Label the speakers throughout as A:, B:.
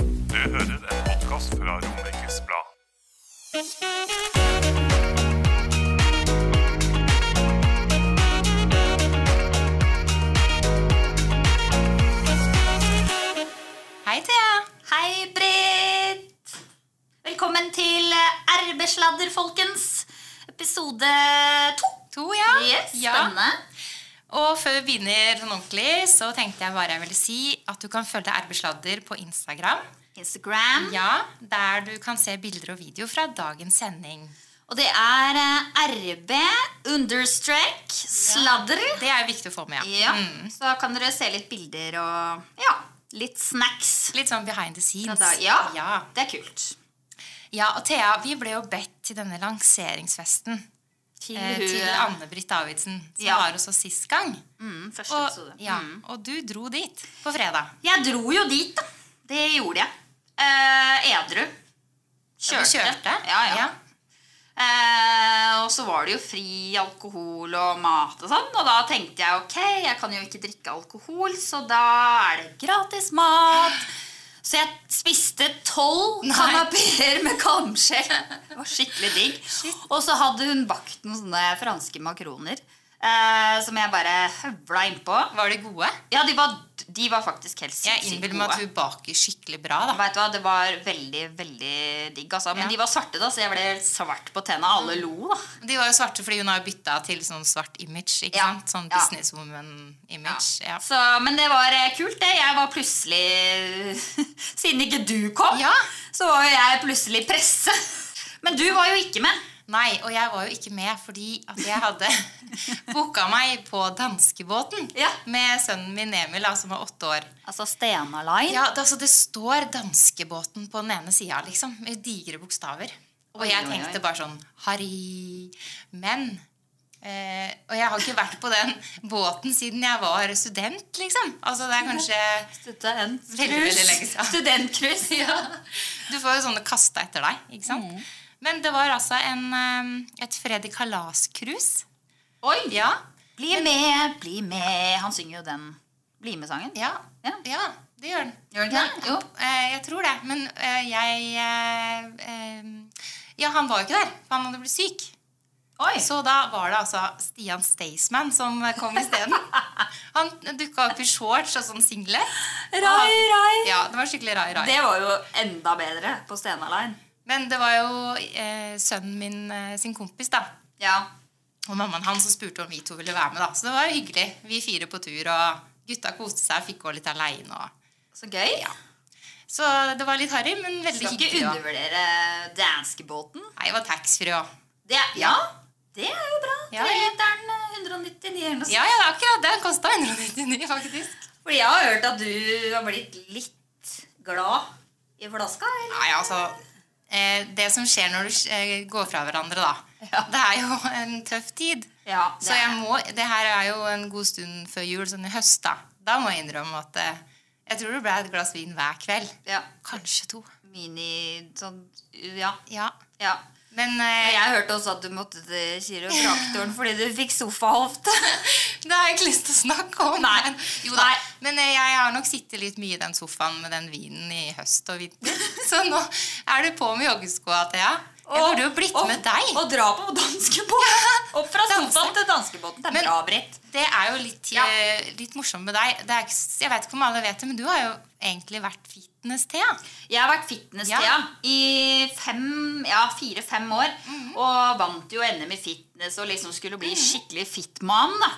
A: Du hører en podkast fra Romerikes Blad.
B: Hei, Thea. Hei, Britt. Velkommen til eh, Arbeidssladder, folkens. Episode to.
C: To, ja.
B: Yes,
C: ja.
B: Spennende.
C: Og før vi begynner sånn ordentlig, så tenkte jeg bare jeg ville si at du kan følge Arbeidssladder på Instagram.
B: Mhm. Instagram.
C: Ja, Der du kan se bilder og video fra dagens sending.
B: Og det er eh, RB understrek sladder.
C: Det er jo viktig å få med. ja.
B: Ja,
C: Mm.
B: Så kan dere se litt bilder og ja, litt snacks.
C: Litt sånn behind the scenes.
B: Da- Ja,
C: ja.
B: det er kult.
C: Ja, og Thea, vi ble jo bedt til denne lanseringsfesten
B: Til,
C: eh, til Anne-Britt Davidsen, som
B: Ja.
C: var hos oss sist gang.
B: mm, første
C: Og,
B: episode.
C: ja,
B: Mm.
C: og du dro dit på fredag.
B: Jeg dro jo dit, da. Det gjorde jeg. Eh, edru.
C: Ja,
B: Kjørte.
C: Du kjørte.
B: Ja, ja. Eh, og så var det jo fri alkohol og mat og sånn. Og da tenkte jeg ok, jeg kan jo ikke drikke alkohol, så da er det gratis mat. Så jeg spiste tolv kanapeer med kamskjell. Det var skikkelig digg. Og så hadde hun bakt noen sånne franske makroner eh, som jeg bare høvla innpå.
C: Var de gode?
B: Ja, de var, de var faktisk helt
C: Jeg
B: sinnssykt
C: innbiller meg at
B: gode.
C: du baker skikkelig bra. da.
B: Vet du hva, Det var veldig veldig digg. altså. Men
C: Ja.
B: de var svarte, da, så jeg ble helt svart på tenna. Alle lo, da.
C: De var jo svarte fordi hun har bytta til sånn svart image. ikke
B: Ja.
C: sant? Sånn
B: Ja.
C: businesswoman-image. Ja.
B: Så, men det var eh, kult, det. Jeg var plutselig Siden ikke du kom,
C: Ja.
B: så var jo jeg plutselig presse. Men du var jo ikke med.
C: Nei, og jeg var jo ikke med fordi at jeg hadde booka meg på danskebåten
B: Ja.
C: med sønnen min Emil, da, som var åtte år.
B: Altså Stena Line.
C: Ja, det, altså, det står danskebåten på den ene sida, liksom, med digre bokstaver. Og
B: Oi,
C: jeg
B: oi, oi.
C: tenkte bare sånn Harry. Men eh, Og jeg har ikke vært på den båten siden jeg var student, liksom. Altså, det er kanskje Veldig, veldig lenge siden.
B: Studentcruise. Ja.
C: Du får jo sånne kasta etter deg, ikke sant?
B: Mm.
C: Men det var altså en, eh, et Freddy Kalas-krus.
B: Oi!
C: Ja.
B: Bli med, bli med. Han synger jo den Bli med-sangen.
C: Ja.
B: Ja.
C: ja, det gjør den.
B: Gjør den ikke det? Jo.
C: Eh, jeg tror det. Men eh, jeg eh, eh, Ja, han var jo ikke der, for han hadde blitt syk.
B: Oi.
C: Så da var det altså Stian Staysman som kom isteden. Han dukka opp i shorts og sånn singlet.
B: Rai, rai.
C: Ja, det var skikkelig rai, rai.
B: Det var jo enda bedre på Stena Line.
C: Men det var jo eh, sønnen min eh, sin kompis, da.
B: Ja.
C: Og mammaen hans spurte om vi to ville være med, da. Så det var jo hyggelig. Vi fire på tur, og gutta koste seg, fikk gå litt aleine og
B: Så gøy.
C: Så det var litt harry, men veldig
B: Skal ikke
C: hyggelig. også.
B: undervurdere danskebåten.
C: Nei, det var taxfree òg.
B: Det, ja, det er jo bra.
C: Ja,
B: Tre
C: ja.
B: literen, eh, 199 eller noe sånt.
C: Ja, ja, det er akkurat det. Den kosta 199, faktisk.
B: Fordi jeg har hørt at du har blitt litt glad i flaska. Eller?
C: Nei, altså eh, Det som skjer når du eh, går fra hverandre, da, det er jo en tøff tid.
B: Ja, det
C: Så jeg
B: er-
C: må Det her er jo en god stund før jul, sånn i høst, da. Da må jeg innrømme at eh, jeg tror det ble et glass vin hver kveld.
B: Ja.
C: Kanskje to.
B: Mini sånn Ja.
C: Ja.
B: ja.
C: Men
B: Men
C: eh,
B: jeg hørte også at du måtte til kiropraktoren fordi du fikk sofahofte.
C: Det har jeg ikke lyst til å snakke om. Nei. Jo da. Men eh, jeg har nok sittet litt mye i den sofaen med den vinen i høst og vinter. Så nå er du på med joggeskoa, Thea. Jeg
B: Og-
C: burde jo blitt
B: og-
C: med deg.
B: Og dra på danskebåten. Opp fra sofaen til danskebåten. Det er
C: Men-
B: bra, Britt.
C: Det er jo litt,
B: Ja.
C: eh, litt morsomt med deg. Det er ikke, s- jeg vet ikke om alle vet det, men du har jo egentlig vært fitness-Thea.
B: Jeg har vært fitness-Thea
C: Ja.
B: i fem, ja, fire-fem år.
C: Mhm.
B: Og vant jo NM i fitness og liksom skulle bli skikkelig fit-man. da.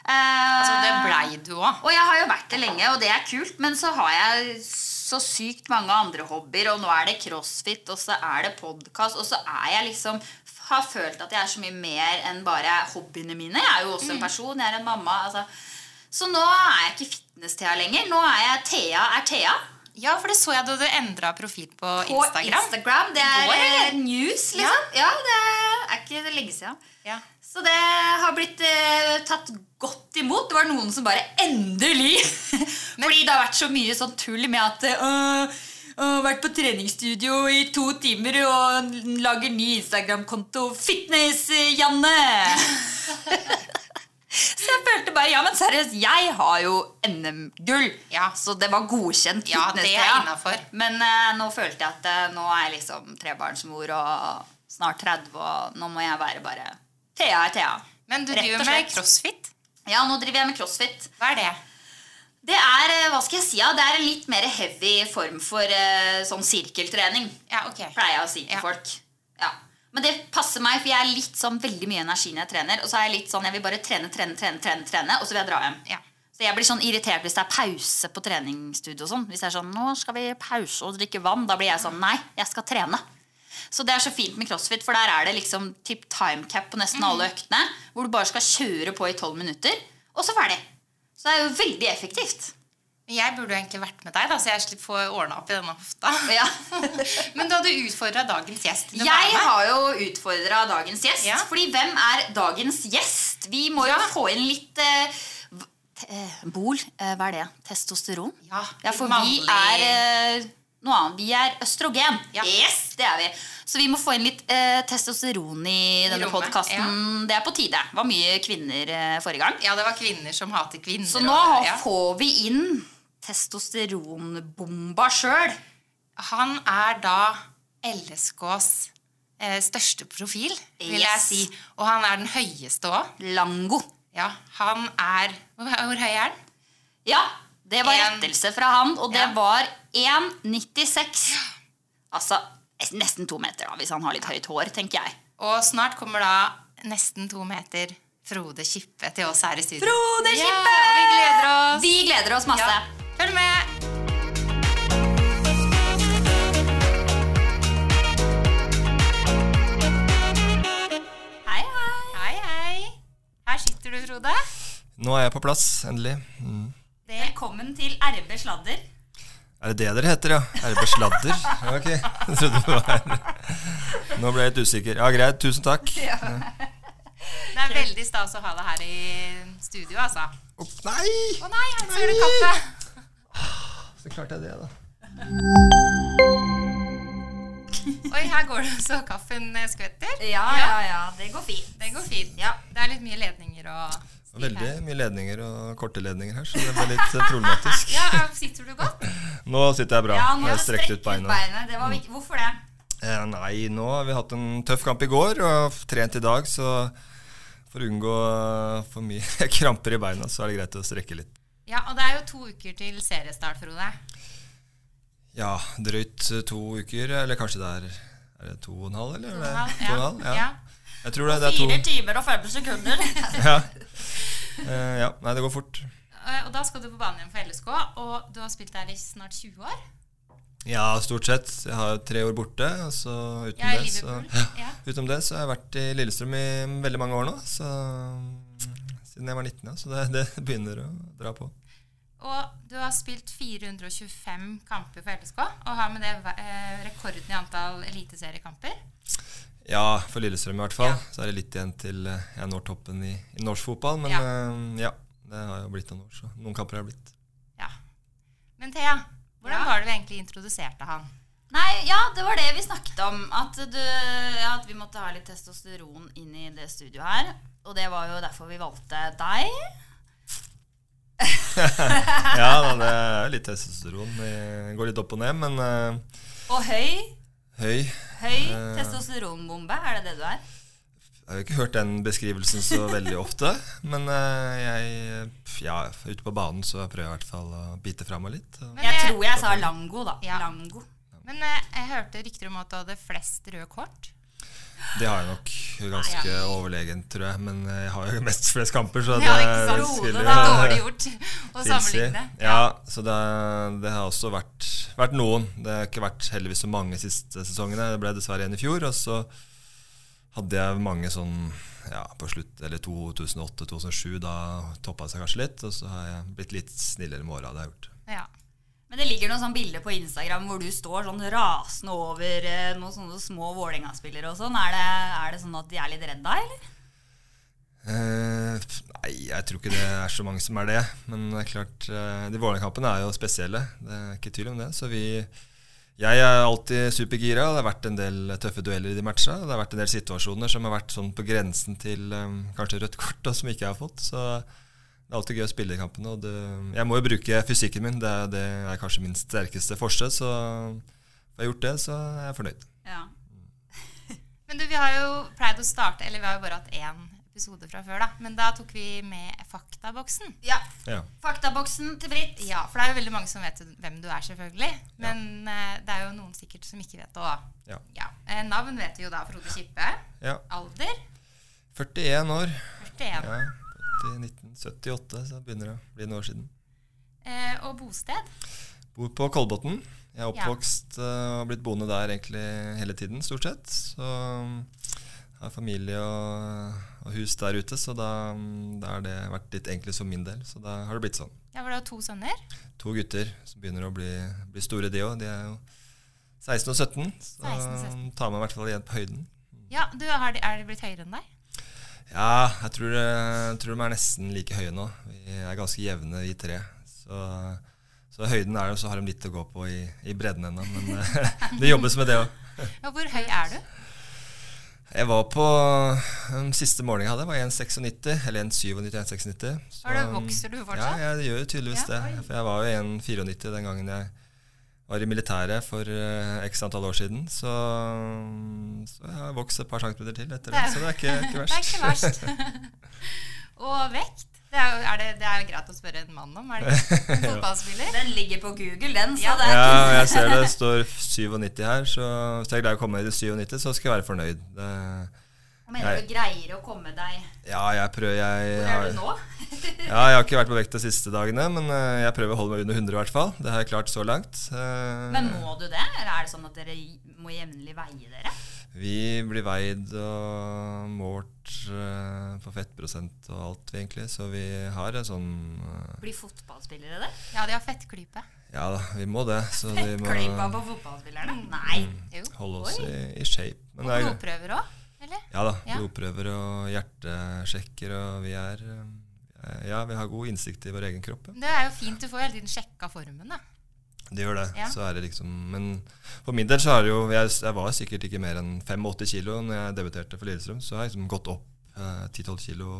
B: Eh,
C: Så Mhm. Altså, det blei du òg.
B: Og jeg har jo vært det lenge, og det er kult, men så har jeg så sykt mange andre hobbyer, og nå er det crossfit, og så er det podkast, og så er jeg liksom har følt at jeg er så mye mer enn bare hobbyene mine. Jeg er jo også en person, jeg er en mamma. altså. Så nå er jeg ikke fitness-Thea lenger. Nå er jeg Thea er Thea.
C: Ja, for det så jeg da du endra profil på,
B: På
C: Instagram.
B: Instagram. Det er
C: I går, eller?
B: eh, news, liksom. Ja, det er ikke det lenge siden.
C: Ja.
B: Så det har blitt eh, tatt godt imot. Det var noen som bare endelig Fordi det har vært så mye sånn tull med at øh, øh, Vært på treningsstudio i to timer og lager ny Instagram-konto. Fitness-Janne! så jeg følte bare Ja, men seriøst, jeg har jo NM-gull.
C: Ja.
B: Så det var godkjent.
C: Ja, det er
B: fitness-Thea.
C: innenfor.
B: Men eh, nå følte jeg at eh, nå er jeg liksom trebarnsmor og snart 30, og nå må jeg være bare Thea er Thea.
C: Men du
B: Rett og
C: driver med
B: slett.
C: crossfit.
B: Ja, nå driver jeg med crossfit.
C: Hva er det?
B: Det er eh, hva skal jeg si, ja, det er en litt mer heavy form for eh, sånn sirkeltrening,
C: Ja, ok.
B: pleier jeg å si til
C: Ja.
B: folk. Ja. Men det passer meg, for jeg er litt sånn veldig mye energi når jeg trener. Og så er jeg litt sånn, jeg vil bare trene, trene, trene, trene, trene og så vil jeg dra hjem.
C: Ja.
B: Så jeg blir sånn irritert hvis det er pause på treningsstudio og sånn. Hvis det er sånn, nå skal vi pause og drikke vann, da blir jeg sånn, nei, jeg skal trene. Så det er så fint med crossfit, for der er det liksom typ time cap på nesten alle
C: Mm.
B: øktene, hvor du bare skal kjøre på i 12 minutter, og så ferdig. Så det er jo veldig effektivt.
C: Men Jeg burde jo egentlig vært med deg, da, så jeg slipper få ordna opp i denne hofta.
B: Ja.
C: Men du hadde utfordra dagens gjest. til å være
B: Jeg
C: med.
B: har jo utfordra dagens gjest.
C: Ja.
B: Fordi hvem er dagens gjest? Vi må jo få inn litt eh, v- te- eh, Bol, eh, hva er det? Testosteron?
C: Ja,
B: for
C: mannlig-
B: vi er eh, noe annet. Vi er østrogen.
C: Ja.
B: Yes, det er vi. Så vi må få inn litt eh, testosteron i denne
C: rommet,
B: podkasten. Det er på tide. Det var mye kvinner eh, forrige gang.
C: Ja, det var kvinner som hater kvinner.
B: Så
C: og-
B: nå
C: ja.
B: får vi inn testosteronbomba sjøl.
C: Han er da LSKs eh, største profil, vil jeg
B: Yes.
C: si. Og han er den høyeste òg.
B: Lango.
C: Ja, han er Hvor hvor høy er han?
B: Ja, det var
C: En-
B: rettelse fra han, og det
C: Ja.
B: var 1,96. Altså nesten to meter, da, hvis han har litt høyt hår, tenker jeg.
C: Og snart kommer da nesten to meter Frode Kippe til oss her i studio.
B: Frode
C: Ja,
B: Kippe!
C: og vi gleder oss.
B: Vi gleder oss masse.
C: Ja. Følg med!
B: Hei, hei.
C: Hei, hei. Her sitter du, Frode.
D: Nå er jeg på plass, endelig. Mm.
B: Velkommen til RB Sladder.
D: Er det det dere heter, ja? RB Sladder? Ja, Ok, jeg trodde det var Nå ble jeg litt usikker. Ja, greit. Tusen takk.
C: Det er veldig stas å ha deg her i studio, altså.
D: Opp- Nei!
C: Å nei, her ser du kaffe.
D: Så klarte jeg det, da.
C: Oi, her går det så kaffen eh, skvetter.
B: Ja, ja, ja. Det går fint.
C: Det går fint.
B: Ja.
C: Det er litt mye ledninger og
D: Det var Veldig mye ledninger og korte ledninger her, så det ble litt eh, problematisk.
C: Ja, sitter du godt?
D: Nå sitter jeg bra.
B: Ja, nå
D: jeg har strekt
B: strekk
D: ut beina.
B: Det var viktig. Hvorfor det?
D: Eh, nei, nå har vi hatt en tøff kamp i går og trent i dag, så for å unngå eh, for mye kramper i beina, så er det greit å strekke litt.
C: Ja, og det er jo to uker til seriestart, Frode.
D: Ja, drøyt eh, to uker, eller kanskje det er Er det to og en halv, eller?
C: Ja,
D: To og en halv, ja.
C: ja.
D: Jeg tror det, det er to.
B: timer og 50 sekunder.
D: Ja. Eh, ja. Nei, det går fort.
C: Eh, Og da skal du på banen igjen for LSK, og du har spilt der i snart 20 år.
D: Ja, stort sett. Jeg har tre år borte, og så utenom
C: Jeg er i
D: det så,
C: Liverpool. Ja.
D: Utenom det så har jeg vært i Lillestrøm i veldig mange år nå. Så, mm, siden jeg var 19, ja. Så det, det begynner å dra på.
C: Og du har spilt 425 kamper for LSK, og har med det eh, rekorden i antall eliteseriekamper.
D: Ja, for Lillestrøm i hvert fall.
C: Ja.
D: Så er det litt igjen til eh, jeg når toppen i, i norsk fotball. Men
C: Ja.
D: eh, ja, det har jo blitt noen år, så noen kamper har det blitt.
C: Ja. Men Thea, hvordan var det du egentlig introduserte han?
B: Nei, ja, det var det vi snakket om. At, du, ja, at vi måtte ha litt testosteron inn i det studioet her. Og det var jo derfor vi valgte deg.
D: Ja, da, det er jo litt testosteron. Det går litt opp og ned, men eh,
B: Og høy.
D: høy
B: Høy
D: Eh.
B: testosteronbombe, er det det du er?
D: Jeg har jo ikke hørt den beskrivelsen så veldig ofte. Men eh, jeg pff, Ja, ute på banen så prøver jeg i hvert fall å bite fra meg litt. og-
C: Men
B: Jeg
C: jeg-
B: tror jeg sa lango, da.
C: Ja.
B: Lango.
C: Men eh, jeg hørte rykter om at du hadde flest røde kort.
D: Det har jeg nok ganske overlegent, tror jeg. Men jeg har jo mest flest kamper, så
C: Ja, ikke sant?
D: det
C: Frode,
D: spiller
C: det er dårlig
D: jo
C: gjort å
D: tilsi.
C: sammenligne.
D: Ja, så det, det har også vært, vært noen. Det har ikke vært heldigvis så mange siste sesongene. Det ble dessverre en i fjor. Og så hadde jeg mange sånn ja, på slutt, eller 2008-2007. Da toppa det seg kanskje litt. Og så har jeg blitt litt snillere med åra. Det har jeg gjort.
C: Ja.
B: Men det ligger noen sånn bilder på Instagram hvor du står sånn rasende over eh, noen sånne små Vålerenga-spillere og sånn. Er det, er det sånn at de er litt redda, eller?
D: Eh, pff, nei, jeg tror ikke det er så mange som er det. Men det er klart, eh, de Vålerenga-kampene er jo spesielle. Det er ikke tvil om det. Så vi Jeg er alltid supergira. og Det har vært en del tøffe dueller i de matcha. og Det har vært en del situasjoner som har vært sånn på grensen til eh, kanskje rødt kort, og som ikke jeg har fått. Så det er alltid gøy å spille de kampene. Og det, jeg må jo bruke fysikken min. Det, er- det er kanskje min sterkeste forse. Så har jeg gjort det, så er jeg fornøyd.
B: Ja.
C: Men du, vi har jo pleid å starte Eller vi har jo bare hatt én episode fra før, da. Men da tok vi med faktaboksen.
B: ja.
D: Ja.
B: Faktaboksen til Britt.
C: Ja, for det er jo veldig mange som vet hvem du er, selvfølgelig. Men eh, det er jo noen sikkert som ikke vet det òg.
D: Ja.
C: Eh, Navn vet vi jo da. Frode Kippe.
D: ja.
C: Alder?
D: 41 år.
C: 41.
D: Ja, 80, 1978, så begynner det å bli noen år siden.
C: Eh, og bosted?
D: Bor på Kolbotn. Jeg er
C: Ja.
D: oppvokst eh, og blitt boende der egentlig hele tiden, stort sett. Så mm, har familie og, og hus der ute, så da, mm, da har det vært litt enklest for min del. Så da har det blitt sånn.
C: Ja, var det jo to sønner?
D: To gutter som begynner å bli, bli store, de òg. De er jo 16 og 17, så
C: 16 og 17.
D: mm, tar meg i hvert fall igjen på høyden.
C: Ja, du, har de, Er de blitt høyere enn deg?
D: Ja, jeg tror, jeg tror de er nesten like høye nå. Vi er ganske jevne, vi tre. Så, så høyden er det, og så har de litt å gå på i, i bredden ennå. Men eh, det jobbes med det òg.
C: Ja, hvor høy er du?
D: Jeg var på eh, Den siste målingen jeg hadde, var 1,96. Eller 1,97. 1,96. Så,
C: Har du- vokser du fortsatt?
D: Ja, jeg gjør jo tydeligvis
C: Ja, oi.
D: det. For jeg var jo 1,94 den gangen jeg var i militæret for eh, x antall år siden. Så, mm, så jeg har vokst et par centimeter til etter det. Så det er ikke,
C: Det
D: ikke
C: er
D: verst.
C: ikke verst. og vekt? Det er, jo- er det, det er jo greit å spørre en mann om, er det ikke? En Fotballspiller?
B: Den ligger på Google, den. Så
C: Ja.
B: det er
D: Ja, jeg ser det står 97 her, så hvis jeg greier å komme meg til 97, så skal jeg være fornøyd. Det,
B: Jeg mener du greier å komme deg
D: ja, jeg prøver jeg,
B: Hvor
D: har-
B: er du nå?
D: Ja, jeg har ikke vært på vekt de siste dagene, men eh, jeg prøver å holde meg under 100 i hvert fall. Det har jeg klart så langt. Eh,
B: Men må du det? Eller er det sånn at dere må jevnlig veie dere?
D: Vi blir veid og målt eh, på fettprosent og alt, vi egentlig, så vi har en sånn eh,
B: Blir fotballspillere det?
C: Ja, de har fettklype.
D: Ja da, vi må det. Så vi må
B: Klypa på fotballspillerne? Nei.
C: Jo.
D: holde oss i, i shape. Men det er,
C: Blodprøver òg, eller?
D: Ja da.
C: Ja.
D: Blodprøver og hjertesjekker, og vi er eh, Ja, vi har god innsikt i vår egen kropp. Ja.
C: Det er jo fint. Du får jo hele tiden sjekka formen, da.
D: Det gjør det.
C: Ja.
D: Så er det liksom Men for min del så er det jo Jeg, jeg var sikkert ikke mer enn 85 kilo når jeg debuterte for Lillestrøm, så jeg har liksom gått opp eh, 10-12 kilo,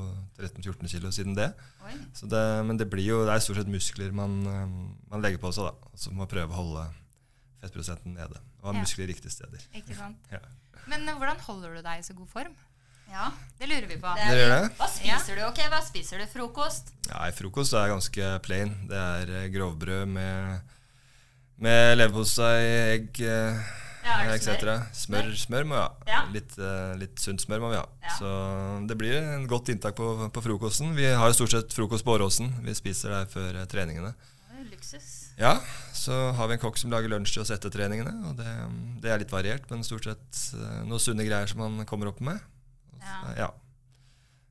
D: 13-14 kilo siden det.
B: Oi.
D: Så det. Men det blir jo Det er stort sett muskler man, eh, man legger på seg, da. Så man må prøve å holde fettprosenten nede. Og ha
C: Ja.
D: muskler i riktige steder.
C: Ikke sant?
D: Ja.
C: Men eh, hvordan holder du deg i så god form?
B: Ja.
C: Det lurer vi på.
B: Det
D: Dere gjør det?
B: Hva spiser du? Ok, hva spiser du? Frokost?
D: Nei, frokost er ganske plain. Det er eh, grovbrød med, med leverpostei, egg eh,
B: Ja, er det
D: etc. Smør, smør må vi ha.
B: Ja.
D: Litt, eh, litt sunt smør må vi ha.
B: Ja.
D: Så det blir en godt inntak på, på frokosten. Vi har jo stort sett frokost på Åråsen. Vi spiser der før eh, treningene.
B: Oi, Luksus.
D: Ja, så har vi en kokk som lager lunsj til oss etter treningene. Og det, det er litt variert, men stort sett eh, noen sunne greier som han kommer opp med.
B: Ja.
D: Ja.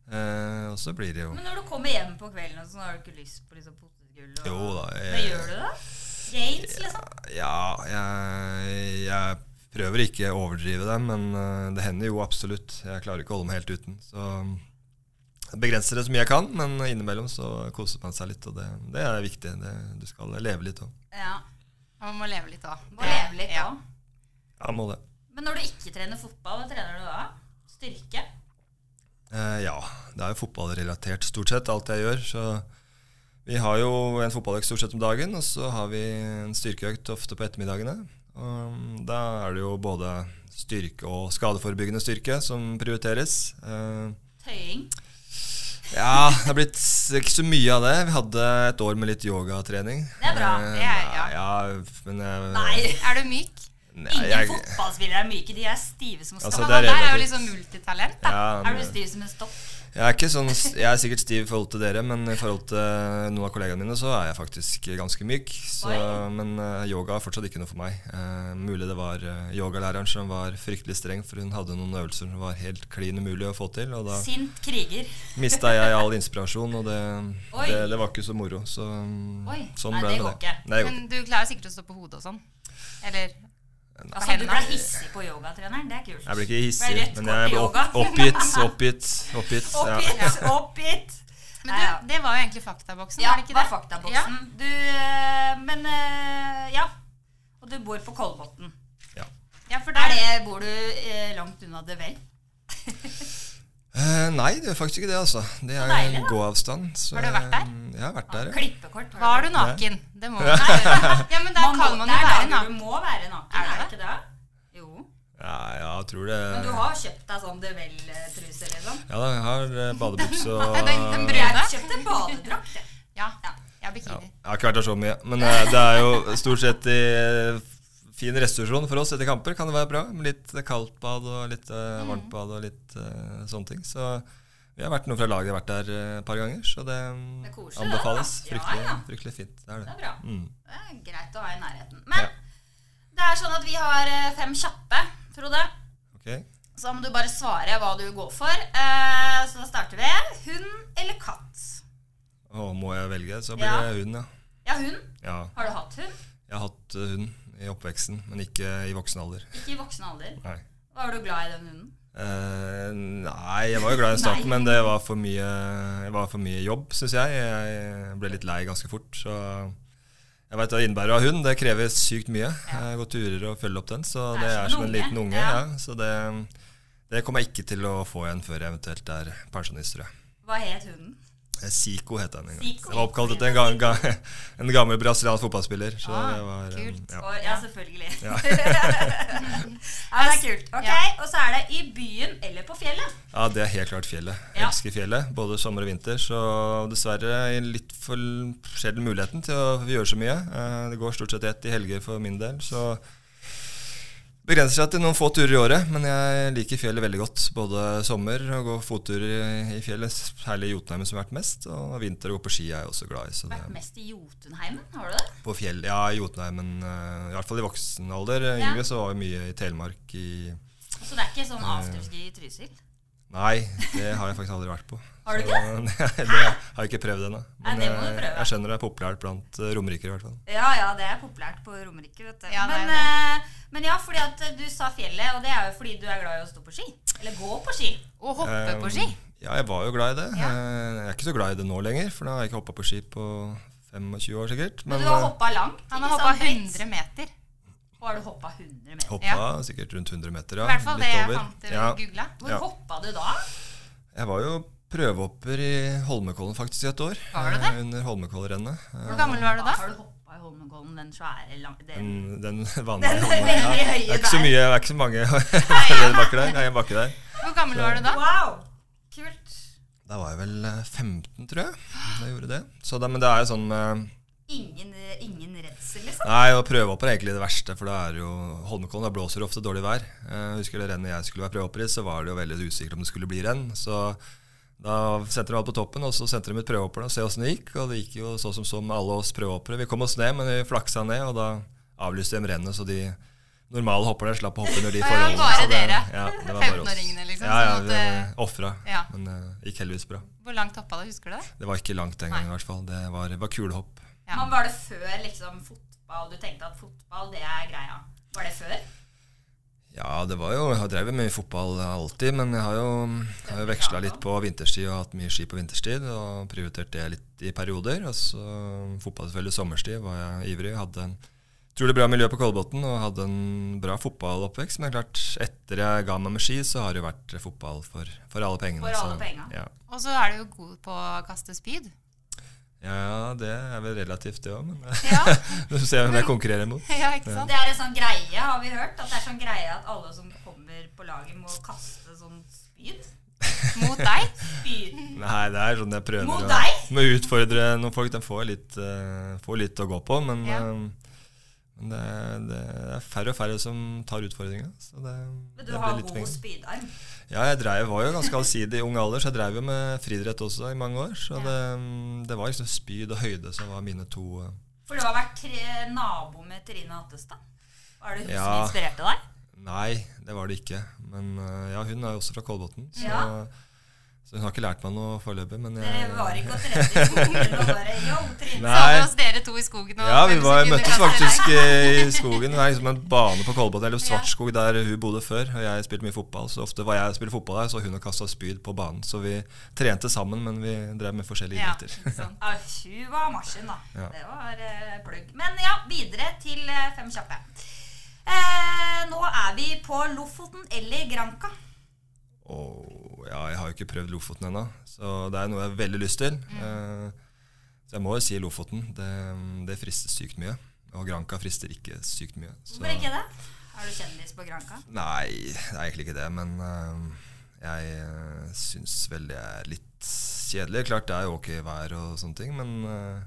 D: Eh, og så blir det jo
B: Men når du kommer hjem på kvelden, og sånn, har du ikke lyst på liksom potetgull? og-
D: Jo da. jeg-
B: Men gjør du det? Gains, liksom?
D: Ja, jeg, jeg prøver ikke å overdrive det, men eh, det hender jo absolutt. Jeg klarer ikke å holde meg helt uten. Så um, jeg begrenser det så mye jeg kan, men innimellom så koser man seg litt, og det, det er viktig. Det, du skal leve litt òg.
B: Ja.
C: Man må leve litt òg.
B: Må leve litt da.
D: Ja, må det.
B: Men når du ikke trener fotball, hva trener du da? Styrke?
D: Eh, ja, det er jo fotballrelatert stort sett, alt jeg gjør. Så vi har jo en fotballøkt stort sett om dagen, og så har vi en styrkeøkt ofte på ettermiddagene. Og mm, da er det jo både styrke og skadeforebyggende styrke som prioriteres. Eh,
B: Tøying?
D: Ja, det har blitt ikke så mye av det. Vi hadde et år med litt yogatrening.
B: Det er bra.
D: Eh,
C: Det er- ja.
D: ja. men jeg,
B: Nei.
C: Er du myk?
D: nei, Nei,
B: Ingen
D: jeg,
B: fotballspillere er myke. De er stive som stopp.
D: Altså, det
C: Han der er jo
D: relativt.
C: liksom multitalent, da.
D: ja,
B: er du
D: men,
B: stiv som en stopp?
D: jeg, er ikke sånn, jeg er sikkert stiv i forhold til dere, men i forhold til noen av kollegaene mine så er jeg faktisk ganske myk. Så, men eh, yoga er fortsatt ikke noe for meg. Eh, mulig det var eh, yogalæreren som var fryktelig streng, for hun hadde noen øvelser som var helt klin umulig å få til. Og da
B: Sint kriger.
D: mista jeg all inspirasjon, og det,
B: Oi.
D: det, det var ikke så moro. Så, mm,
B: Oi.
D: sånn
B: Nei, det
D: ble det
B: går
D: med det.
B: ikke.
D: Nei, det går
C: Men du klarer sikkert å stå på hodet og sånn. Eller
B: Altså, du ble hissig på yogatreneren. Det er kult.
D: Jeg ble ikke
B: Ble
D: hissig,
B: rett
D: men
B: kort i
D: jeg ble
B: yoga.
D: opp, oppgitt, oppgitt, oppgitt. Ja.
B: Oppgitt, oppgitt.
C: Men
B: Ja, ja.
C: du, det var jo egentlig faktaboksen,
B: Ja,
C: var det
B: det
C: ikke det?
B: var faktaboksen. Du, øh, men øh, ja. Og du bor på Kolbotn.
C: Ja, ja for der,
B: Er det, bor du øh, langt unna det vel?
D: Eh, nei, det gjør faktisk ikke det, altså. Det er
B: deilig, da.
D: gåavstand. så- mm,
C: Har du vært der?
D: Jeg har vært der, ja.
B: Klippekort.
C: var du naken? Det må man være. Ja, men der
B: Man
C: kan
B: må-
C: man
B: det
C: jo
B: er
C: være
B: dager
C: naken.
B: Du må være naken,
C: Er
B: er
C: det
B: det
C: det?
B: ikke det? Jo.
D: Ja, ja, jeg tror
B: Men du
D: det.
B: har kjøpt deg sånn Devel-truse, liksom?
D: Ja, da, jeg har eh, badebukse og
C: Den, den
D: Jeg
C: brune?
B: Jeg kjøpte badedrakt, jeg.
C: Ja. Ja, bikini.
D: har ikke vært der så mye. Men eh, det er jo stort sett i eh, fin restitusjon for oss etter kamper, kan det være bra. Med litt eh, kaldt bad og litt
B: Mm.
D: eh, varmt bad og litt eh, sånne ting. Så vi har vært noen fra laget har vært der eh, et par ganger, så det, mm,
B: Det er koselig, det, da.
D: anbefales.
B: Ja,
D: Fryktelig,
B: ja.
D: fryktelig fint. Det er
B: Det er
D: det.
B: bra.
D: Mm.
B: Det er greit å ha i nærheten. Men
D: Ja.
B: det er sånn at vi har eh, fem kjappe, Frode.
D: Ok.
B: Så må du bare svare hva du går for. Eh, Så da starter vi. Hund eller katt?
D: Og må jeg velge, så blir
B: Ja.
D: det hund, ja.
B: Ja, hund.
D: ja.
B: Har du hatt hund?
D: Jeg har hatt eh, hund i oppveksten, men ikke i voksen alder.
B: Ikke i voksen alder.
D: Nei.
B: Var du glad i den hunden?
D: Eh, nei, jeg var jo glad i starten, men det var for mye, det var for mye jobb, syns jeg. Jeg ble litt lei ganske fort. Så jeg veit hva det innebærer å ha hund. Det krever sykt mye. Jeg går turer og følger opp den, så det er som en liten unge. Ja. Så det, det kommer jeg ikke til å få igjen før jeg eventuelt er pensjonist, tror jeg.
B: Hva het hunden?
D: Eh, Zico het han en gang.
B: Zico.
D: Det var oppkalt etter en, ga, ga, en gammel brasiliansk fotballspiller. Så
B: Ah,
D: det var, eh,
C: kult.
D: ja.
B: Og, ja, selvfølgelig. Ja.
D: Ja.
B: det er kult. Ok,
C: Ja.
B: Og så er det i byen eller på fjellet.
D: ja, det er helt klart fjellet. Jeg
B: Ja.
D: elsker fjellet, både sommer og vinter. Så dessverre er litt for l- sjelden muligheten til å gjøre så mye. Eh, Det går stort sett ett i helger for min del, så begrenser seg til noen få turer i året. Men jeg liker fjellet veldig godt, både sommer og gå fotturer i- i fjellet, særlig i Jotunheimen som har vært mest, og vinter og gå på ski er jeg også glad i. Så det,
B: Vært mest i Jotunheimen, har du det?
D: på fjell, ja, i Jotunheimen, eh, i hvert fall i voksen alder. Eh,
B: Ja.
D: Yngre så var vi mye i Telemark i
B: Så det er ikke sånn afterski i Trysil?
D: Nei, det har jeg faktisk aldri vært på.
B: Har du
D: Så, Nei, det har jeg ikke prøvd ennå. Men
B: Nei, det må du
D: jeg,
B: prøve.
D: jeg skjønner det er populært blant eh, romerikere, i hvert fall.
B: Ja, ja, det er populært på Romerike, vet du.
C: Ja, det er
B: men, eh, men ja, fordi at du sa fjellet, og det er jo fordi du er glad i å stå på ski. Eller gå på ski.
C: Å hoppe på ski.
D: Eh, Ja, jeg var jo glad i det. Eh, Jeg er ikke så glad i det nå lenger, for da har jeg ikke hoppa på ski på 25 år sikkert.
B: Men
D: Men
B: du har
D: eh,
B: hoppa langt.
C: Han
B: ikke
C: har hoppa
B: sant, Britt?
C: 100 meter.
B: Og har du hoppa 100 meter?
D: hoppa
C: ja.
D: sikkert rundt 100 meter,
C: I
D: ja.
C: hvert fall det
D: litt
C: jeg
D: over.
C: fant eh, til
D: Ja.
C: og googla.
B: Hvor
D: Ja.
B: hoppa du da?
D: Jeg var jo prøvehopper i Holmenkollen faktisk i et år.
C: Var du
D: eh, Under Holmenkollrennet. Eh,
C: Hvor gammel var du da?
B: Har du hoppa i Holmenkollen, den svære lang... Den.
D: Mm, Den, den vanlige
B: veldig
D: Holmenkollen. Ja.
B: høye
D: Det er ikke så
B: der.
D: mye, det er ikke så mange bakker der. Nei, en bakke der.
C: Hvor gammel var du da?
B: Wow! Kult.
D: Da var jeg vel eh, 15, tror jeg. Da jeg gjorde det. Så det, men det er jo sånn eh,
B: Ingen, eh, ingen redsel, liksom.
D: Nei, å prøve opp er egentlig det verste, for da er det jo Holmenkollen, da blåser det ofte dårlig vær. Eh, husker det rennet jeg skulle være prøveopper i, så var det jo veldig usikkert om det skulle bli renn. Så da sendte de alt på toppen, og så sendte de ut prøvehopperne og se åssen det gikk. Og det gikk jo så som så med alle oss prøvehoppere. Vi kom oss ned, men vi flaksa ned, og da avlyste de rennet, så de normale hopperne slapp å hoppe under de
C: Ja,
D: forholdene.
C: bare
D: så det-
C: dere.
D: Ja, det var bare oss.
C: 15-åringene liksom,
D: Ja, ja,
C: sånn at,
D: vi eh, ofra.
C: ja.
D: Men det gikk heldigvis bra.
C: Hvor langt hoppa du? Husker du det?
D: Det var ikke langt den gangen, i hvert fall. Det var, var kulehopp.
C: Ja.
B: Men var det før liksom fotball? Du tenkte at fotball, det er greia. Var det før?
D: Ja, det var jo, jeg har drevet mye fotball alltid, men jeg har jo, har jo veksla litt på vinterstid og hatt mye ski på vinterstid. Og prioritert det litt i perioder. Og så fotball selvfølgelig sommerstid var jeg ivrig. Hadde en utrolig bra miljø på Kolbotn og hadde en bra fotballoppvekst. Men det er klart, etter jeg ga meg med ski, så har det jo vært fotball for, for alle pengene.
B: For alle
D: så-
B: penga.
D: Ja.
C: Og så er du jo god på å kaste spyd.
D: ja, det er vel relativt det òg, men
C: Ja,
D: du ser hvem jeg konkurrerer mot.
C: ja ikke sant?
B: Det er en sånn greie, har vi hørt. At det er sånn greie at alle som kommer på laget, må kaste sånn spyd.
C: Mot deg.
B: Spyd.
D: Nei, det er sånn jeg prøver
B: Mot
D: å-
B: deg?
D: Med å utfordre noen folk. De får litt, eh, får litt å gå på, men,
C: Ja.
D: eh, men det, det, er færre og færre som tar utfordringa. Så det,
E: Men
D: det
E: du
D: blir
E: har
D: litt
E: god
D: penger.
E: spydarm.
D: Ja, jeg drev, var jo ganske allsidig i ung alder, så jeg drev jo med friidrett også i mange år. Så det, det var liksom spyd og høyde som var mine to eh,
E: For du har vært tre nabo med Trine Hattestad. Var det hun som
D: Ja.
E: inspirerte deg?
D: Nei, det var det ikke. Men eh, ja, hun er jo også fra Kolbotn, så,
E: Ja.
D: så hun har ikke lært meg noe foreløpig. Men jeg,
E: Dere var ikke og trente i skogen og bare Yo, Trine.
D: Nei.
C: Hos dere to i skogen og
D: Ja, vi
C: hvem som
D: var,
C: kunne
D: møttes
C: kaste deg.
D: faktisk eh, i skogen. Det er liksom en bane på Kolbotn, eller Svartskog, der hun bodde før. Og jeg spilte mye fotball, så ofte var jeg og spilte fotball der, så hun og kasta spyd på banen. Så vi trente sammen, men vi drev med forskjellige
C: Ja,
D: idretter.
C: sånn.
E: Ja, hun var marsjen, da.
D: Ja.
E: Det var eh, plugg. Men ja, videre til eh, fem kjappe. Eh, nå er vi på Lofoten eller Granka.
D: Og ja, jeg har jo ikke prøvd Lofoten ennå, så det er noe jeg har veldig lyst til.
C: Mm.
D: Eh, Så jeg må jo si Lofoten. Det, det frister sykt mye. Og Granka frister ikke sykt mye. Så.
E: Hvorfor ikke det? Er du kjendis på Granka?
D: Nei, det er egentlig ikke det. Men eh, jeg uh, syns vel det er litt kjedelig. Klart det er jo ok vær og sånne ting, men eh,